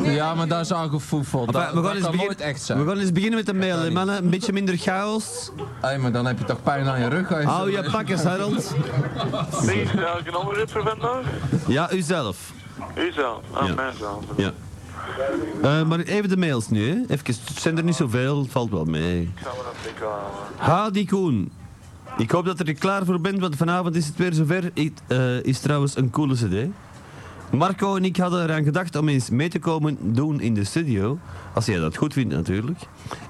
S3: Ja, maar daar is al gevoefeld.
S1: Maar
S3: Dat, dat kan nooit echt zijn.
S1: we gaan eens beginnen met de mail, hè, mannen. Een beetje minder chaos.
S3: Hey, maar dan heb je toch pijn aan je rug. als
S1: Hou je pakkers, Harald.
S6: Zeg eens welke nummer hebt voor vandaag?
S1: Ja, u zelf.
S6: U zelf. Ah,
S1: Ja.
S6: mijn zelf.
S1: Ja. Eh, maar even de mails nu, hè. Even, het zijn er niet zoveel, valt wel mee.
S6: Ik zal me dat ik halen.
S1: Hadi Koen. Ik hoop dat je er klaar voor bent, want vanavond is het weer zover. Het eh, is trouwens een coole cd. Marco en ik hadden eraan gedacht om eens mee te komen doen in de studio. Als jij dat goed vindt natuurlijk.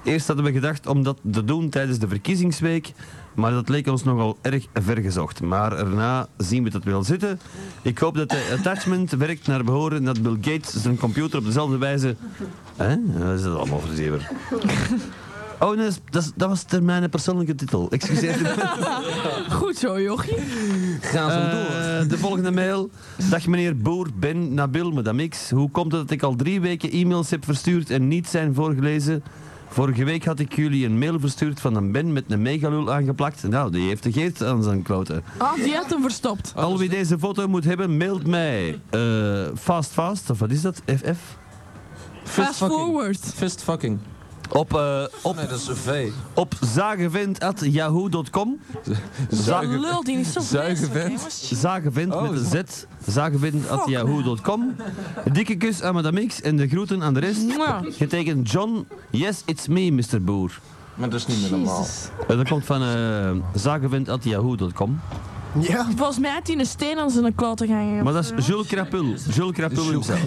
S1: Eerst hadden we gedacht om dat te doen tijdens de verkiezingsweek. Maar dat leek ons nogal erg vergezocht. Maar erna zien we dat wel zitten. Ik hoop dat de attachment werkt naar behoren. en Dat Bill Gates zijn computer op dezelfde wijze... Hè? Dat is dat allemaal verzever. Oh, nee, dat, is- dat, is- dat was ter mijn persoonlijke titel. Excuseer.
S4: Goed zo, jochie.
S3: gaan zo door.
S1: Eh, de volgende mail. Dag meneer Boer, Ben, Nabil, madame X. Hoe komt het dat ik al drie weken e-mails heb verstuurd en niet zijn voorgelezen? Vorige week had ik jullie een mail verstuurd van een Ben met een megalul aangeplakt. Nou, die heeft de geest aan zijn kloten.
S4: Ah, die had hem verstopt.
S1: Al wie deze foto moet hebben, mailt mij. Eh, fast Fast, of wat is dat? FF?
S4: Fast forward.
S3: Fist fucking.
S1: Op, eh, op,
S3: Nee, dat is een V.
S1: op zagenvent.yahoo.com.
S4: Dat lul, die is zo
S3: Zuigen
S4: vreselijk,
S3: vent.
S4: jongens.
S1: Zagenvind met een Z. Zagenvind.yahoo.com. Dikke kus aan Madame X en de groeten aan de rest.
S4: Mwah.
S1: Getekend John. Yes, it's me, Mr. Boer.
S3: Maar dat is niet meer normaal.
S1: Eh, dat komt van eh zagenvind.yahoo.com.
S7: Ja.
S4: Volgens mij had hij een steen aan zijn klote gehangen.
S1: Maar dat is Jules Crapul. Jules Crapul himself.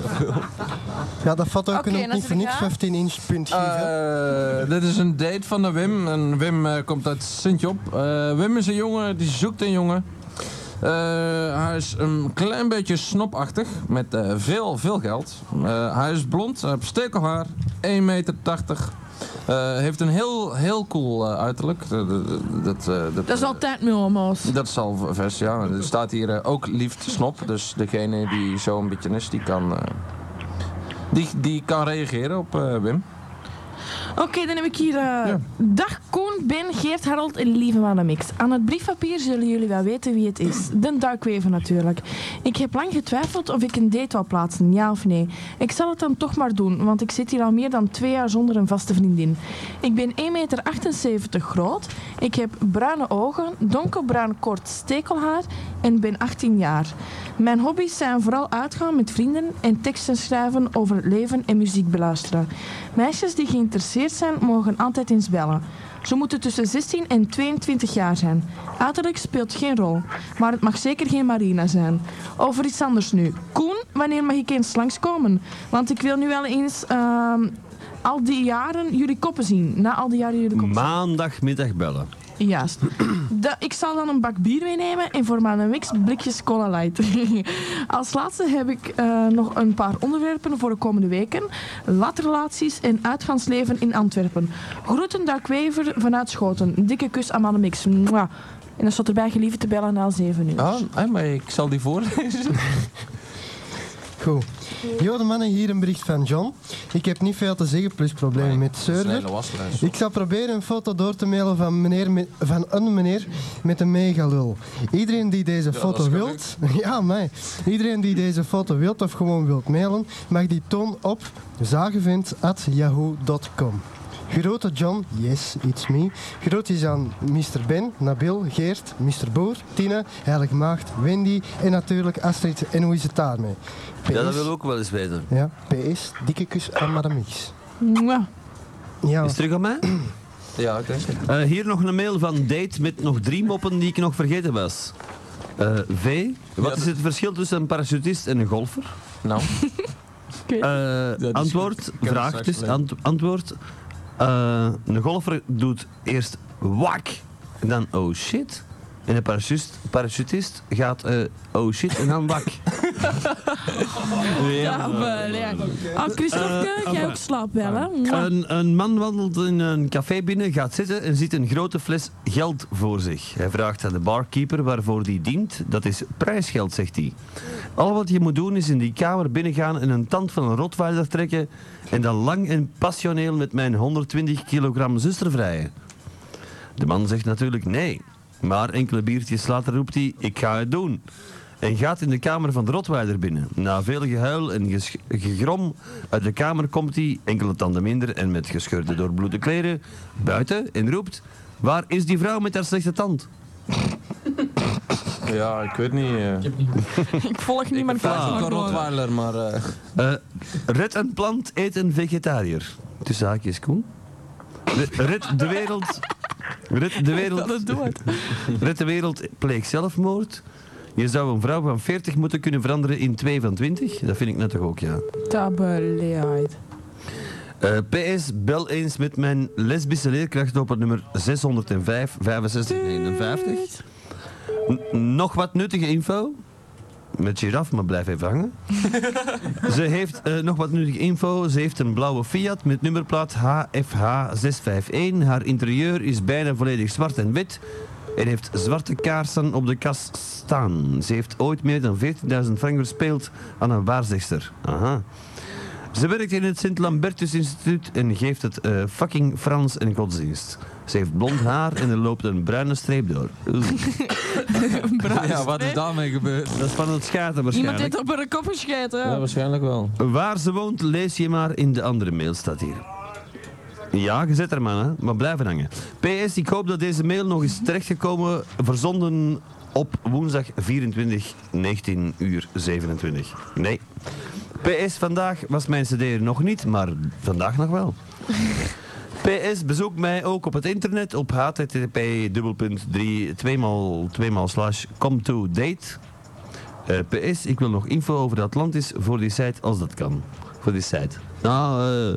S7: Ja, dat vat ook
S4: Oké,
S7: nog niet voor
S4: natuurlijk,
S7: niks
S4: hè?
S7: 15 inch punt geven.
S3: Eh, dit is een date van de Wim. En Wim eh, komt uit Sint-Job. Eh, Wim is een jongen die zoekt een jongen. Eh, hij is een klein beetje snopachtig. Met eh, veel, veel geld. Eh, hij is blond. Hij heeft stekelhaar. 1,80 meter. Eh, heeft een heel, heel cool eh, uiterlijk. Eh, dat, dat, eh, dat,
S4: Dat is altijd Mulmo's.
S3: Dat is al vers, ja. Er staat hier eh, ook liefst snop. Dus degene die zo een beetje is, die kan, eh, die, die kan reageren op eh, Wim.
S4: Oké, dan heb ik hier. eh, Dag Koen, Ben, Geert, Harold en lieve Mannenmix. Aan het briefpapier zullen jullie wel weten wie het is. De duikwever natuurlijk. Ik heb lang getwijfeld of ik een date wou plaatsen, ja of nee. Ik zal het dan toch maar doen, want ik zit hier al meer dan twee jaar zonder een vaste vriendin. Ik ben 1,78 meter groot. Ik heb bruine ogen, donkerbruin kort stekelhaar en ben 18 jaar. Mijn hobby's zijn vooral uitgaan met vrienden en teksten schrijven over het leven en muziek beluisteren. Meisjes die geïnteresseerd zijn, mogen altijd eens bellen. Ze moeten tussen 16 en 22 jaar zijn. Uiterlijk speelt geen rol, maar het mag zeker geen Marina zijn. Over iets anders nu. Koen, wanneer mag ik eens langskomen? Want ik wil nu wel eens ehm, al die jaren jullie koppen zien. Na al die jaren jullie koppen
S1: Maandagmiddag bellen.
S4: Juist. Da- ik zal dan een bak bier meenemen en voor mijn mix blikjes cola light. Als laatste heb ik eh, nog een paar onderwerpen voor de komende weken. Latrelaties en uitgaansleven in Antwerpen. Groeten Dark Wever vanuit Schoten. Dikke kus aan mijn mix. Mwah. En dan staat erbij geliefd te bellen na 7 uur.
S3: Ah, maar ik zal die voorlezen.
S7: Goed. Jo, de mannen, hier een bericht van John. Ik heb niet veel te zeggen, plus problemen met server.
S3: Snelle waslijst.
S7: Ik zal proberen een foto door te mailen van, meneer, met- van een meneer met een megalul. Iedereen die deze
S11: Ja,
S7: foto
S11: dat kan
S7: wilt, ja, mij. Iedereen die deze foto wilt of gewoon wilt mailen, mag die toon op zagenvind.yahoo.com. Grote John, yes, it's me. Groetjes aan Mr. Ben, Nabil, Geert, Mr. Boer, Tine, Heilig Maagd, Wendy en natuurlijk Astrid. En hoe is het daarmee? PS,
S1: Ja, dat wil ik ook wel eens weten.
S7: ja, PS, dikke kus aan Madame X. Ja.
S1: Is het terug aan mij?
S3: Ja, oké.
S1: Eh, hier nog een mail van Date met nog drie moppen die ik nog vergeten was. Eh, v. Wat is het verschil tussen een parachutist en een golfer?
S3: Nou.
S1: Eh, antwoord,
S3: kan
S1: vraag
S3: straks
S1: dus.
S3: wel.
S1: ant- antwoord. Eh, een golfer doet eerst wak, en dan oh shit. En een parachutist, parachutist gaat eh, oh shit en dan wak.
S4: Ja, wel, ja. eh, Oh, Christophe,
S1: Eh,
S4: jij
S1: enfin.
S4: ook slaap wel, hè? Mwah.
S1: Een, een man wandelt in een café binnen, gaat zitten en ziet een grote fles geld voor zich. Hij vraagt aan de barkeeper waarvoor die dient. Dat is prijsgeld, zegt hij. Al wat je moet doen is in die kamer binnengaan en een tand van een rotweiler trekken en dan lang en passioneel met mijn 120 kilogram zuster vrijen. De man zegt natuurlijk nee. Maar enkele biertjes later roept hij, ik ga het doen. En gaat in de kamer van de Rotweiler binnen. Na veel gehuil en ges- gegrom uit de kamer komt hij, enkele tanden minder en met gescheurde doorbloede kleren, buiten en roept, waar is die vrouw met haar slechte tand?
S3: Ja, ik weet niet. eh.
S4: Ik volg niet mijn
S3: Ik
S4: vraag.
S3: ben
S4: maar
S3: een
S4: gewoon.
S3: Rottweiler, maar... eh,
S1: Eh, red een plant, eet een vegetariër. Tussen haakjes, Koen. Re- Red de wereld... Red de wereld... Red de wereld, pleeg zelfmoord. Je zou een vrouw van 40 moeten kunnen veranderen in 2 van 20. Dat vind ik net toch ook, ja.
S4: Tabeleid.
S1: Eh, PS, bel eens met mijn lesbische leerkracht op het nummer 605 65 51. N- nog wat nuttige info. Met giraf, maar blijf even hangen. ze heeft eh, nog wat nuttige info. Ze heeft een blauwe Fiat met nummerplaat HFH651. Haar interieur is bijna volledig zwart en wit. En heeft zwarte kaarsen op de kas staan. Ze heeft ooit meer dan 14.000 frank gespeeld aan een waarzegster. Aha. Ze werkt in het Sint-Lambertus-instituut en geeft het eh, fucking Frans en godsdienst. Ze heeft blond haar en er loopt een bruine streep door. Oeh.
S3: ja, wat is daarmee gebeurd?
S1: Dat is van het schaten
S4: Iemand
S1: waarschijnlijk.
S4: heeft op haar koppen schijten.
S3: Ja, waarschijnlijk wel.
S1: Waar ze woont, lees je maar in de andere mail, staat hier. Ja, je zet er maar, hè. maar blijven hangen. PS, ik hoop dat deze mail nog eens terechtgekomen, verzonden op woensdag 24, 19 uur 27. Nee. PS, vandaag was mijn cd er nog niet, maar vandaag nog wel. PS, bezoek mij ook op het internet op http 2 2 slash come to date. Eh, PS, ik wil nog info over de Atlantis voor die site als dat kan. Voor die site. Nou, eh,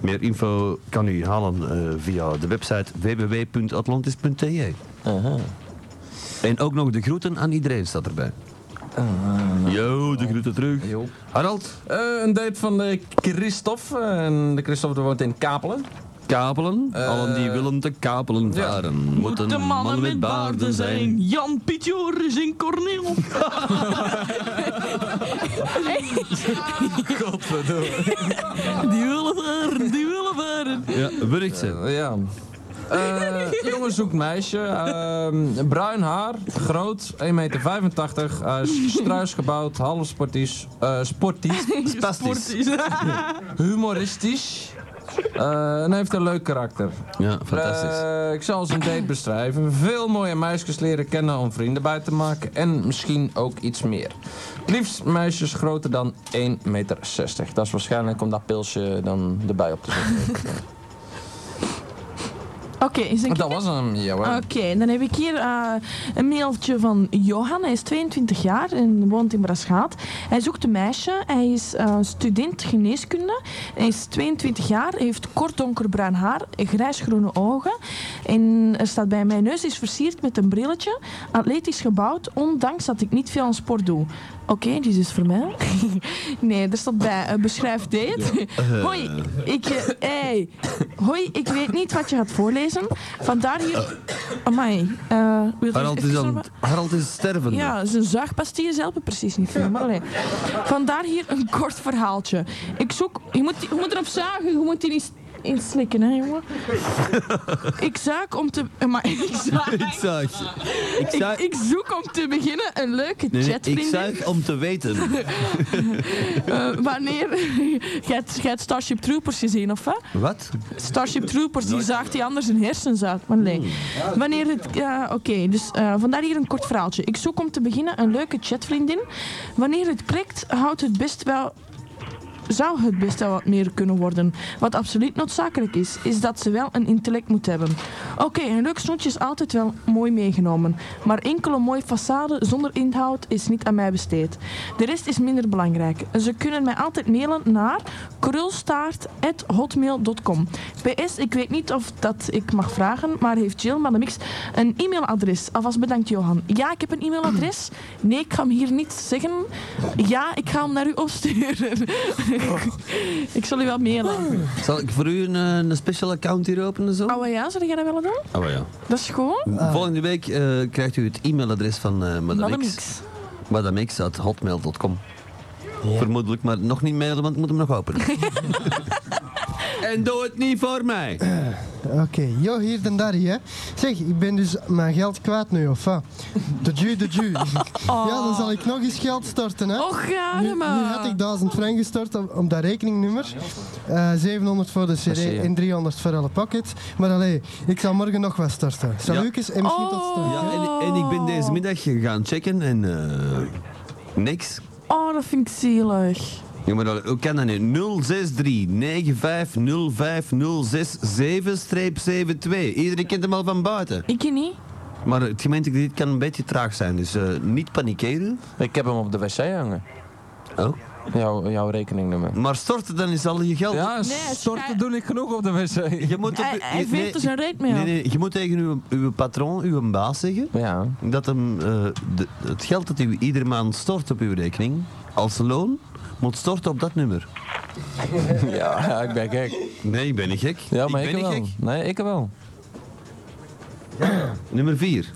S1: meer info kan u halen eh, via de website www.atlantis.te. En ook nog de groeten aan iedereen staat erbij. Yo, de groeten terug. Harald?
S3: Eh, een date van de Christophe. eh, En de Christophe woont in Kapelen.
S1: Kapelen? Allen die willen te kapelen varen, moeten
S4: De
S1: mannen, met baarden zijn.
S4: Jan Pietjoor is in Corneel.
S3: Godverdomme.
S4: Die willen varen, die willen varen.
S1: Ja, bericht ze.
S3: ja. Eh, jongen zoekt meisje. Ehm, bruin haar, groot, 1,85 meter. Hij is struis gebouwd, half sportief. eh, sportief.
S1: Spastisch.
S3: humoristisch. eh, en heeft een leuk karakter.
S1: Ja, fantastisch.
S3: Eh, ik zal zijn date beschrijven. Veel mooie meisjes leren kennen om vrienden bij te maken. En misschien ook iets meer. Het liefst meisjes groter dan 1,60 meter. Dat is waarschijnlijk om dat pilsje dan erbij op te zetten.
S4: Oké, is een
S3: dat was hem, jawel.
S4: Oké, dan heb ik hier eh, een mailtje van Johan. Hij is 22 jaar en woont in Braschaat. Hij zoekt een meisje. Hij is eh, student geneeskunde. Hij is 22 jaar, heeft kort donkerbruin haar, grijsgroene ogen. En er staat bij mijn neus is versierd met een brilletje. Atletisch gebouwd, ondanks dat ik niet veel aan sport doe. Oké, die is dus voor mij. nee, er stond bij, eh, beschrijf dit.
S11: Ja.
S4: Hoi, ik, eh, hey. Hoi, ik weet niet wat je gaat voorlezen. Vandaar hier... Amai. eh, wil je
S1: Harald
S4: even
S1: is,
S4: zorgen-
S1: aan, Harald is sterven.
S4: ja, zijn zuigpastilles helpen precies niet veel. Maar allee. Vandaar hier een kort verhaaltje. Ik zoek... Je moet, je moet erop zuigen, je moet die niet inslikken, hè, jongen. Ik zuik om te... eh, Maar ik zuig...
S1: ik zuig. Ik
S4: Ik,
S1: zuig.
S4: ik zoek om te beginnen een leuke
S1: Nee, nee, ik
S4: chatvriendin.
S1: zuig om te weten.
S4: Eh, wanneer... Jij hebt- jij hebt Starship Troopers gezien, of wat?
S1: Wat?
S4: Starship Troopers, die zaagt die anders hun hersens uit. Maar nee. Wanneer het... ja, Oké, dus eh, vandaar hier een kort verhaaltje. Ik zoek om te beginnen een leuke chatvriendin. Wanneer het klikt, houdt het best wel... Zou het best wel wat meer kunnen worden. Wat absoluut noodzakelijk is, is dat ze wel een intellect moet hebben. Oké, een leuk snoetje is altijd wel mooi meegenomen. Maar enkele mooie façade zonder inhoud is niet aan mij besteed. De rest is minder belangrijk. Ze kunnen mij altijd mailen naar krulstaart.hotmail.com. PS, ik weet niet of dat ik mag vragen, maar heeft Jill Madamix een e-mailadres? Alvast bedankt, Johan. Ja, ik heb een e-mailadres. Nee, ik ga hem hier niet zeggen. Ja, ik ga hem naar u opsturen. ik zal u wel mailen.
S1: Zal ik voor u een, eh, een special account hier openen zo?
S4: Oh ja, zou jij dat willen doen?
S1: Oh ja.
S4: Dat is gewoon.
S1: Volgende week eh, krijgt u het e-mailadres van eh Ah. Madame X.
S4: Madamix.
S1: Madame X at hotmail.com. Vermoedelijk, maar nog niet mailen, want ik moet hem nog openen. en doe het niet voor mij.
S7: Oké, jo, hier en daar, hè. Zeg, ik ben dus mijn geld kwijt nu, of wat? De ju, de ju. Ja, dan zal ik nog eens geld storten, hè.
S4: Och, gaar,
S7: nu, nu
S4: maar.
S7: had ik 1000 frank gestort op, op dat rekeningnummer. Eh, 700 voor de
S1: Dat zie je.
S7: cd en 300 voor alle pocket. Maar allee, ik zal morgen nog wat storten.
S1: Ja.
S7: Salukes en misschien tot straks.
S1: Ja, en, en ik ben
S4: Oh.
S1: deze middag gaan checken en eh, niks.
S4: Oh, dat vind ik zielig.
S1: Ja, maar dat- hoe kan dat nu? 063-9505-067-72. Iedereen kent hem al van buiten.
S4: Ik niet.
S1: Maar het gemeentekrediet kan een beetje traag zijn, dus eh, niet panikeren.
S4: Oh.
S3: Ik heb hem op de wc hangen.
S1: Oh?
S3: Jouw, jouw rekeningnummer.
S1: Maar storten dan is al je geld.
S3: Ja,
S4: Nee, het-
S3: storten doe ik genoeg op de wc.
S1: Je moet op-
S4: Hij- hij
S1: je-
S4: veegt er zijn reet mee
S1: nee,
S4: af.
S1: nee, Je moet tegen uw, uw patroon, uw baas zeggen,
S3: Ja.
S1: dat hem, eh, de- het geld dat u iedere maand stort op uw rekening, als loon, moet storten op dat nummer.
S3: ja, ik ben gek.
S1: Nee, ik ben niet gek.
S3: Ja, maar ik,
S1: ben
S3: wel.
S1: niet
S3: Nee, ik wel.
S1: gek. Nummer 4.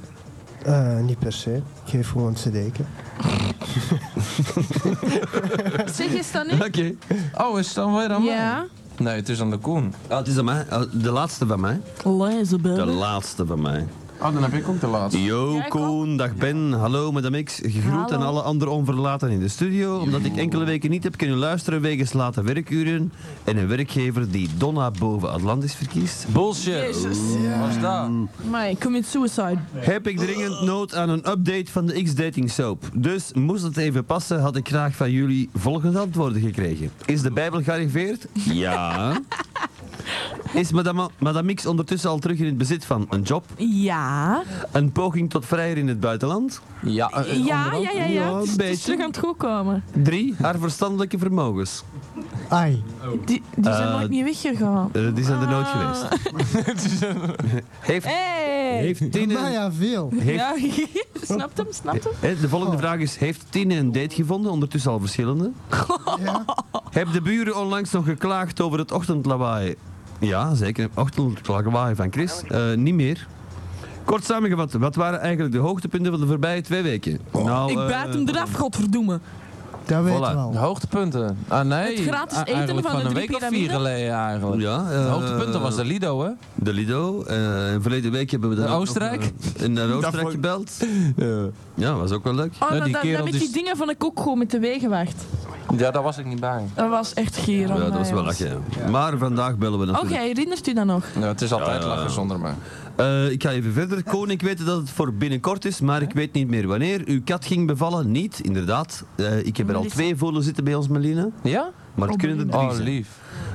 S7: Eh, niet per se. Ik geef gewoon een cd'tje.
S4: Zeg eens dan niet?
S3: Oh, is het dan weer aan mij?
S4: Ja.
S3: Nee, het is aan de Koen.
S1: Ah, het is aan mij. Ah, De laatste van mij.
S3: Mhm.
S1: De
S4: Elizabeth.
S1: laatste van mij.
S3: Oh, dan heb ik ook de laatste.
S1: Yo, Koen, dag Ben. Hallo, madame X. Gegroet
S4: Hallo.
S1: aan alle andere onverlaten in de studio. Omdat ik enkele weken niet heb kunnen luisteren wegens late werkuren. En een werkgever die Donna boven Atlantis verkiest.
S3: Bullshit.
S4: Jezus.
S3: Wat is dat?
S4: Maar ik commit suicide.
S1: Heb ik dringend nood aan een update van de X-dating soap. Dus moest het even passen, had ik graag van jullie volgende antwoorden gekregen. Is de Bijbel gearriveerd? Ja. Is madame, madame X ondertussen al terug in het bezit van een job?
S4: Ja.
S1: Een poging tot vrijer in het buitenland?
S3: Ja, eh, eh,
S4: Ja,
S3: onderhand.
S4: ja, ja,
S1: Ja,
S4: ja. Het is- het
S1: beetje.
S4: is terug aan het goed komen.
S1: 3. Haar verstandelijke vermogens.
S7: Ai.
S4: Die, die zijn
S1: Eh,
S4: nooit meer weggegaan.
S1: Eh, die zijn er nooit geweest. Heeft,
S4: Hey!
S1: heeft Tine...
S7: Maar ja, veel.
S1: Heeft,
S4: Ja, snapt hem, snapt hem.
S1: hè, de volgende vraag is, heeft Tine een date gevonden? Ondertussen al verschillende. Heb de buren onlangs nog geklaagd over het ochtendlawaai? Ja, zeker. Ochtendlawaai van Chris. Eh, niet meer. Kort samengevat, wat waren eigenlijk de hoogtepunten van de voorbije twee weken?
S3: Oh.
S1: Nou,
S4: Ik
S1: eh,
S4: buit hem eraf, godverdomme. Oh,
S7: Dat weet
S1: Voilà.
S7: we al.
S3: De hoogtepunten. Ah nee,
S4: Het gratis
S3: Ah,
S4: eten
S3: eigenlijk
S4: van de
S3: een
S4: drie
S3: week of vier
S4: piramiden?
S3: geleden eigenlijk.
S1: Ja,
S3: de
S1: eh,
S3: hoogtepunten was de Lido, hè?
S1: De Lido. eh, en verleden week hebben we dan
S3: Naar
S1: ook nog,
S3: Oostenrijk?
S1: eh, in naar Oostenrijk gebeld. Ja, was ook wel leuk.
S4: Oh,
S3: Ja,
S4: dat,
S3: die
S4: dat,
S3: kerel
S4: dat met
S3: die
S4: die
S3: s-
S4: dingen van de kok gewoon met de wegenwacht.
S3: Ja, daar was ik niet bij.
S4: Dat was echt gier.
S1: Ja, dat was wel lachen. ja. Maar vandaag bellen we
S4: Oké,
S1: natuurlijk.
S4: herinnert u dat nog?
S3: Ja, het is altijd
S1: Ja, ja.
S3: lachen zonder me.
S1: Eh, ik ga even verder. Koning, ik weet dat het voor binnenkort is, maar ik weet niet meer wanneer. Uw kat ging bevallen? Niet, inderdaad. Eh, ik heb er al
S4: Melissa.
S1: twee voelen zitten bij ons, Melina.
S3: Ja?
S1: Maar het kunnen er drie
S3: Oh,
S1: zijn.
S3: lief.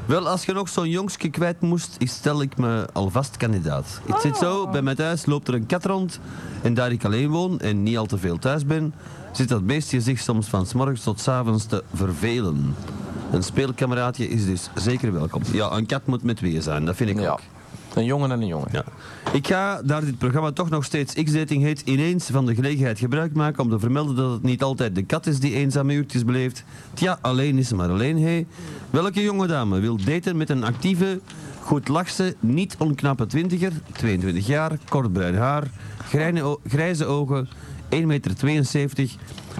S1: Wel, als je nog zo'n jongske kwijt moest, is- stel ik me alvast kandidaat. Het zit zo, bij mij thuis loopt er een kat rond. En daar ik alleen woon en niet al te veel thuis ben, zit dat beestje zich soms van 's morgens tot 's avonds te vervelen. Een speelkameraadje is dus zeker welkom. Ja, een kat moet met weer zijn, dat vind ik ook.
S3: Een jongen en een jongen.
S1: Ja. Ik ga, daar dit programma toch nog steeds X-dating heet, ineens van de gelegenheid gebruik maken om te vermelden dat het niet altijd de kat is die eenzame uurtjes beleeft. Tja, alleen is ze maar alleen, hé. Welke jonge dame wil daten met een actieve, goedlachse, niet onknappe twintiger, 22 jaar, kort bruin haar, grijne o- grijze ogen, 1,72 meter,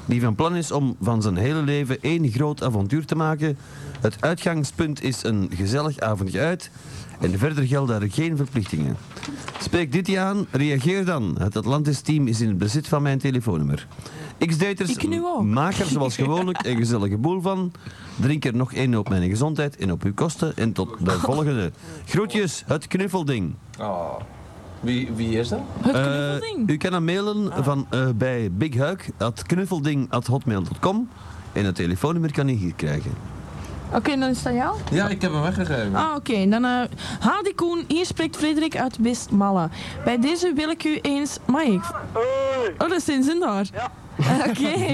S1: die van plan is om van zijn hele leven één groot avontuur te maken. Het uitgangspunt is een gezellig avondje uit en verder gelden er geen verplichtingen. Spreek dit je aan, reageer dan. Het Atlantis-team is in het bezit van mijn telefoonnummer. X-daters, maak er zoals gewoonlijk een gezellige boel van. Drink er nog één op mijn gezondheid en op uw kosten. En tot de volgende. Groetjes, het knuffelding.
S3: Oh. Wie, wie is dat?
S1: Eh, u kan hem mailen
S4: Ah.
S1: van, eh, bij bighuik.knuffelding.hotmail.com en het telefoonnummer kan u hier krijgen.
S4: Oké, dan is dat jou?
S3: Ja, ik heb hem weggegeven.
S4: Ah, oké. Dan eh Hadi Koen, hier spreekt Frederik uit Westmalle. Bij deze wil ik u eens... Mike. Oh, dat is zijn zin daar. Oké.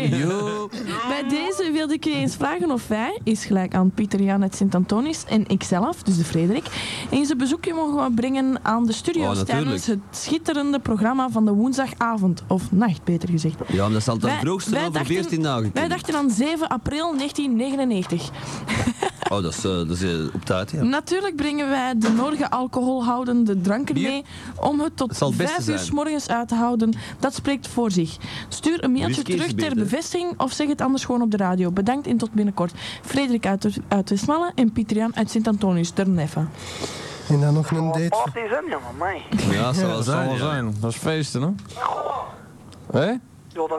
S4: Bij deze wilde ik u eens vragen of wij, is gelijk aan Pieter Jan uit Sint-Antonis en ikzelf, dus de Frederik, eens een bezoekje mogen brengen aan de studio's
S1: Oh, natuurlijk.
S4: tijdens het schitterende programma van de woensdagavond, of nacht beter gezegd.
S1: Ja, en dat zal dan
S4: Wij-
S1: vroegst
S4: wij
S1: zijn over
S4: dachten-
S1: 14 dagen.
S4: Wij dachten aan 7 april 1999.
S1: Oh, dat is, eh, dat is eh, op tijd, ja.
S4: Natuurlijk brengen wij de nodige alcoholhoudende dranken mee om het tot
S1: Het zal het beste
S4: vijf uur
S1: zijn.
S4: s morgens uit te houden. Dat spreekt voor zich. Stuur een mailtje
S1: Whisky is
S4: terug ter
S1: beter.
S4: bevestiging of zeg het anders gewoon op de radio. Bedankt en tot binnenkort. Frederik uit, uit Westmalle en Pieter Jan uit Sint-Antonius, Terneffa.
S7: En dan nog een date.
S6: Wat is hem, jongen, mij?
S1: Ja, dat zal wel
S3: dat
S1: zijn,
S3: wel
S1: ja.
S3: zijn. Dat is feesten, hè? Hé?
S6: Ja, dat...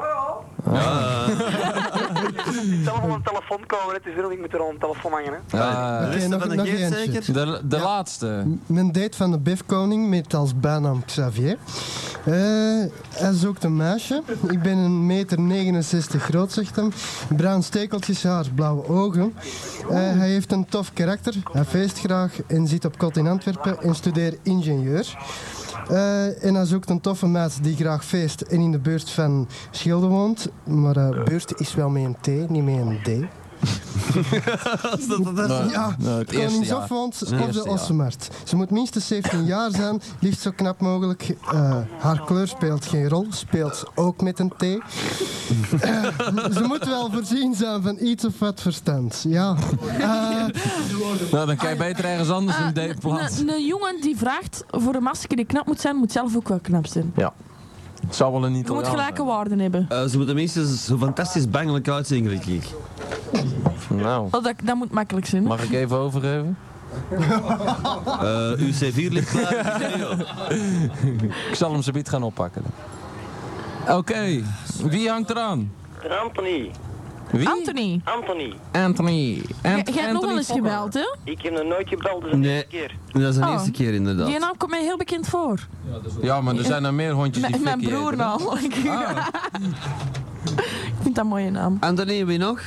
S6: Stel voor een telefoon komen, het is wil ik moet er al een telefoon hangen, hè.
S3: Ja.
S7: Oké, nog- nog eentje.
S3: Ah, De, de laatste.
S7: Mijn date Eh, van de Bifkoning met als bijnaam Xavier. Eh, hij zoekt een meisje. Ik ben een meter 69 groot, zegt hem. Bruin stekeltjes haar, blauwe ogen. Eh, hij heeft een tof karakter. Hij feest graag en zit op kot in Antwerpen en studeert ingenieur. Eh, en hij zoekt een toffe meid die graag feest en in de buurt van Schilde woont. Maar eh, buurt is wel met een T, niet met een D. Ja,
S3: Nou, het eerste
S7: Konings
S3: jaar.
S7: Hofland
S3: Het
S7: op
S3: eerste
S7: de
S3: jaar.
S7: Ossenmarkt. Ze moet minstens 17 jaar zijn, liefst zo knap mogelijk. Eh, haar kleur speelt geen rol, speelt ook met een T. Eh, ze moet wel voorzien zijn van iets of wat verstand. Ja. Eh,
S3: Nou, dan kan je beter ergens anders
S4: Ah,
S3: een date plaatsen.
S4: Een een jongen die vraagt voor een masker die knap moet zijn, moet zelf ook wel knap zijn.
S3: Ja. Het zou wel een
S4: Je moet
S3: Italiaan
S4: gelijke waarden hebben.
S1: Eh, ze moeten minstens zo fantastisch bangelijk uitzien, denk ik.
S3: zijn. Nou,
S4: Oh, dat, dat moet makkelijk zijn. hè?
S3: mag ik even overgeven?
S1: Eh, uw C4 ligt klaar.
S3: Ik zal hem zo biet gaan oppakken. Oké, wie hangt eraan?
S6: Eh, Anthony,
S3: Wie?
S4: Anthony,
S6: Anthony.
S3: Anthony.
S4: jij jij hebt nog wel eens gebeld, hè?
S6: Ik heb nog nooit gebeld, dus
S1: Nee,
S6: keer.
S1: dat is de
S4: Oh.
S1: eerste keer inderdaad.
S4: Die naam komt mij heel bekend voor.
S3: Ja, maar er zijn er meer hondjes die
S4: M- mijn
S3: fikkie
S4: broer
S3: eten, hè? Ah.
S4: namelijk.
S1: Ah.
S4: Ik vind dat een mooie naam.
S1: Anthony, wie nog?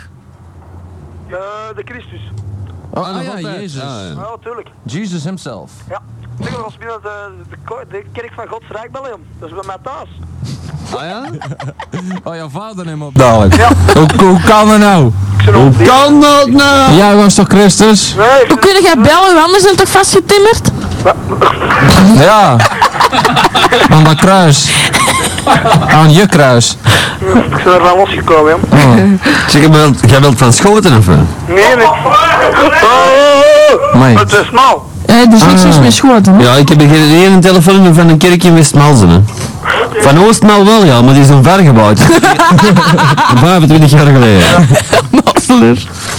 S6: Eh, de Christus.
S3: Oh,
S1: nog
S3: ah, ja,
S1: altijd.
S3: Jezus.
S1: Ah, ja.
S6: Ja, tuurlijk.
S3: Jesus himself.
S6: Ja. Zeg maar, als binnen de, de, ko- de kerk van Gods Rijk bellen, jong. Dat is bij mij thuis.
S1: Ah ja?
S3: Oh, jouw vader hem op. Hoe, hoe kan dat nou?
S1: Hoe kan dat nou?
S3: Jij was toch Christus?
S6: Nee,
S4: Hoe kun jij bellen? Uw handen zijn toch vastgetimmerd?
S3: Ja. Aan dat kruis. Aan je kruis.
S6: ik ben er wel losgekomen, jong.
S1: Zeg, maar, jij wilt van schoten of wat?
S6: Nee, nee.
S2: Oh,
S3: Mate.
S6: Het is nou.
S4: Hé, dus niks
S3: Ah.
S4: mis met schoten.
S1: Ja, ik heb geen ene telefoonnummer van een kerk in Westmalzen. Hè. Van Oostmaal wel, ja, maar die is een ver gebouwd. 25 jaar geleden.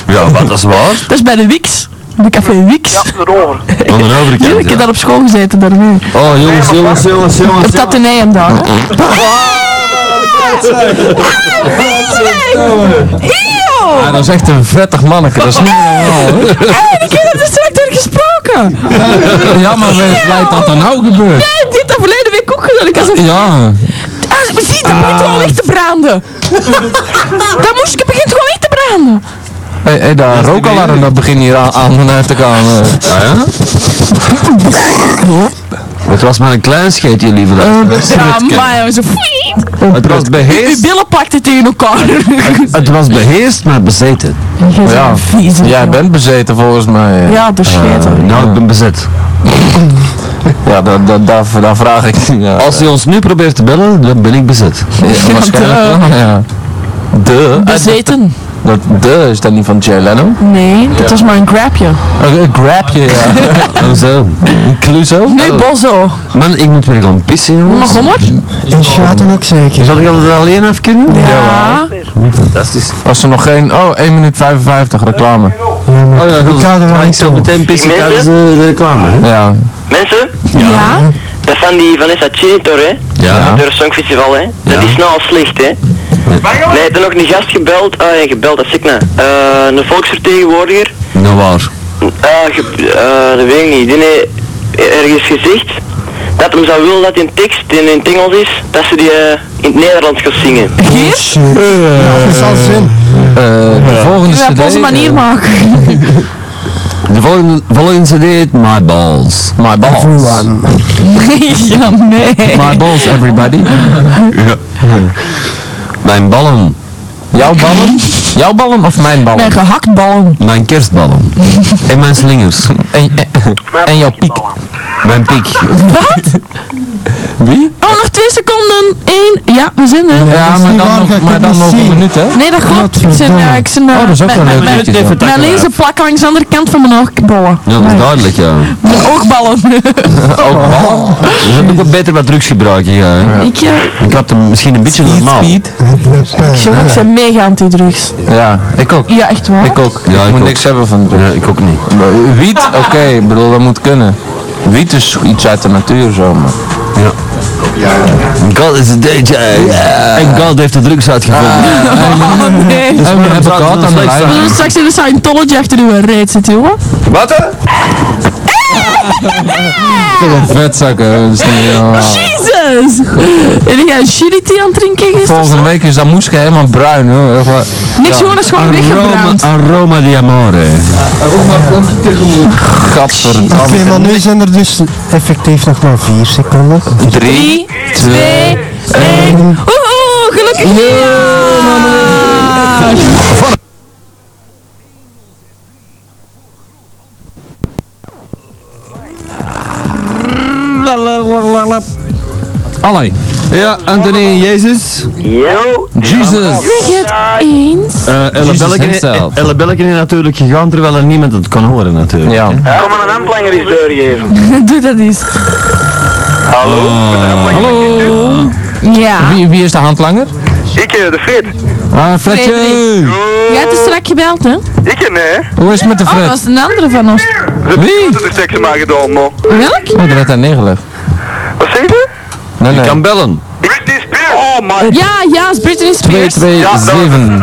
S1: Ja, wat, dat is waar.
S4: Dat is bij de Wix. De café Wix.
S6: Ja, erover.
S1: Aan de overkant,
S4: Ik heb
S1: ja.
S4: daar op school gezeten daarmee.
S1: Oh, jongens, jongens, jongens, jongens.
S4: Op dat hem daar. hè. Eeuw!
S3: Ja, dat is echt een vettig manneke, dat is niet normaal. hè?
S4: Hé, ik heb er straks door gesproken.
S3: Ja, maar we blijft dat dan nou gebeurd?
S4: Hé, dit heb verleden week ook gedaan. Ik was een...
S3: Ja.
S4: Ah, maar zie, dat begint gewoon echt te branden. dat moest ik, het begint gewoon echt te branden.
S3: Hé, hey, daar rookalarm dat begint hier aan, aan vanuit de kamer.
S1: Ja, ja. Het was maar een klein scheetje, lieve
S4: Ja, Ah, maar zo fliet.
S1: Het was
S4: Uw
S1: beheerst,
S4: billen pakten tegen elkaar.
S1: het was beheerst, maar bezeten.
S4: En jij bent een vieze
S3: Jij
S4: jongen.
S3: bent bezeten volgens mij.
S4: Ja, de scheet.
S3: nou, ik ben bezet. ja, daar dat, dat, dat vraag ik. Ja.
S1: Als hij ons nu probeert te bellen, dan ben ik bezet.
S3: Ja, waarschijnlijk wel, ja. De.
S4: Bezeten?
S3: Eh, Dat de is dat niet van Jay Leno?
S4: Nee, dat was maar een grapje.
S3: Een, een grapje, ja.
S1: Zo. Cluzo?
S4: Nee, Bozo.
S1: Man, ik moet weer gaan pissen, jongens.
S4: Maar kom maar.
S7: En Schaten ook zeker.
S1: Zal ik dat alleen af kunnen?
S4: Ja.
S1: Fantastisch.
S3: Was er nog geen. Oh, 1 minuut 55 reclame.
S1: Oh ja, goed.
S7: ga er wel
S1: Maar ik
S7: niet
S1: zal
S7: op.
S1: meteen pissen tijdens de de reclame, hè?
S3: Ja.
S2: Mensen,
S4: Ja.
S2: dat is van die Vanessa Chinitor, hè?
S1: Ja.
S2: Door het Songfestival, hè? Dat is nou al slecht, hè? Nee, heb er nog een gast gebeld, ah ja, gebeld, dat zeg ik nou. Eh, een volksvertegenwoordiger.
S1: Nou waar.
S2: Ah, ge, eh, dat weet ik niet. Die heeft ergens gezegd dat hem zou willen dat in tekst in, in het Engels is, dat ze die eh, in het Nederlands gaat zingen.
S4: Geert?
S7: Dat zal zin.
S3: de volgende
S4: Je
S3: CD.
S4: op onze manier maken.
S1: De volgende, volgende CD heet My Balls.
S3: My balls.
S4: ja, nee.
S3: eh, My balls, everybody.
S1: Mijn ballen.
S3: Jouw ballen? Jouw ballen of mijn ballen?
S4: Mijn gehaktballen.
S1: Mijn kerstballen. en mijn slingers.
S3: En, en, en jouw piek.
S1: Mijn piek.
S4: Wat?
S3: Wie?
S4: Oh, nog twee seconden. Eén. Ja, we zijn er. Dus-
S3: Ja,
S7: is
S3: maar
S7: niet waar,
S3: dan,
S7: dat
S3: nog, maar
S7: kan
S3: dan
S7: niet
S3: nog een
S7: zien.
S3: minuut, hè?
S4: Nee, dat klopt. Ik zit, eh, ik zit, eh,
S3: Oh, dat is ook
S4: met-
S3: wel
S4: met-
S3: leuk
S4: met-
S3: liedje,
S1: zo.
S4: Mijn lezen plakken langs de andere kant van mijn oogballen.
S1: Ja, dat is duidelijk, ja.
S4: Mijn oogballen.
S3: Oh.
S1: Dus dan moet ik beter wat drugs gebruiken, ja. hè.
S4: ik, eh,
S1: Ik klap hem misschien een beetje normaal.
S4: jongen, ik ben mega anti-drugs.
S3: Ja, ik ook.
S4: Ja, echt waar?
S3: Ik ook.
S1: Ja,
S3: ik
S1: ik
S3: moet
S1: ook.
S3: niks hebben van drugs.
S1: Ja, ik ook niet.
S3: Wiet, oké, ik bedoel, dat moet kunnen. Wiet is iets uit de natuur zo, maar.
S1: Ja. God is a DJ. En God heeft de drugs
S3: Ah.
S1: uitgevonden.
S4: Oh, nee.
S1: Dus
S3: we
S1: maar
S3: hebben
S1: praten
S3: gehad
S1: we
S3: aan de
S1: slecht
S3: lijn.
S1: aan.
S4: Er is straks in de Scientology achter uw reet zitten, jongen.
S3: Oh.
S1: Wat? hè?
S3: Vetzakken, dat is niet normaal.
S4: Jesus! En jij een shirity aan het drinken gisteren?
S3: Volgende week is dat moesje helemaal bruin hoor. Echt waar.
S4: Niks gewoon is gewoon
S1: Aroma,
S4: weggebrand.
S1: aroma di amore.
S7: Oké,
S3: Gadverdamme.
S7: maar nu zijn er dus effectief nog maar vier seconden.
S1: Drie.
S4: 3, 2, 1. Oeh, gelukkig nieuwjaar!
S3: Allee.
S1: Ja, Anthony en Jezus.
S2: Yo!
S3: Jesus.
S4: Zeg het eens.
S1: Eh Elle
S3: Jesus
S1: Belkin-
S3: himself.
S1: Elle Belkin is natuurlijk gegaan terwijl er niemand het kon horen natuurlijk.
S3: Ja.
S2: Kom maar een handlanger eens doorgeven.
S4: Doe dat eens.
S2: Hallo?
S3: Hallo.
S4: Ja.
S3: Wie, wie is de handlanger?
S2: Ik, eh, de Fred.
S3: Ah, Fredje.
S4: Jij hebt dus strak gebeld, hè?
S2: Ik, eh, nee.
S3: Hoe is het met de
S4: Oh, dat
S3: Fred?
S4: was een andere van ons.
S3: Wie?
S2: Dat is seks maar gedaan, man.
S4: Welk?
S3: Oh, dat werd daar neergelegd.
S2: Wat zeg je?
S3: Nee,
S1: Je
S3: nee.
S1: kan bellen.
S2: Britney Spears! Oh my
S4: Ja, ja, is Britney Spears.
S3: 227.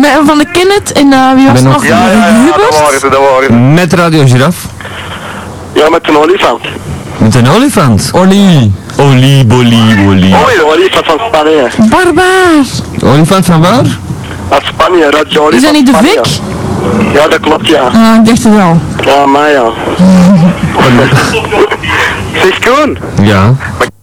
S4: Met- Van de Kenneth en eh, wie was het
S3: Ben
S4: nog?
S3: ook-
S2: Ja, ja, ja, dat
S4: Hubert?
S2: waren ze, dat waren ze.
S1: Met Radio Giraffe.
S2: Ja, met een olifant.
S1: Met een olifant.
S3: Ollie.
S1: Olie, bolie, olie.
S2: Mooi, de olifant van Spanje.
S4: Barbaar.
S1: Olifant van waar?
S2: Uit Spanje, Radio Olifant.
S4: Is dat niet de
S2: Spanje.
S4: Vic?
S2: Ja, dat klopt, ja.
S4: Ah, ik dacht het al.
S2: Ja, maar ja. zeg Koen,
S1: Ja.
S2: maar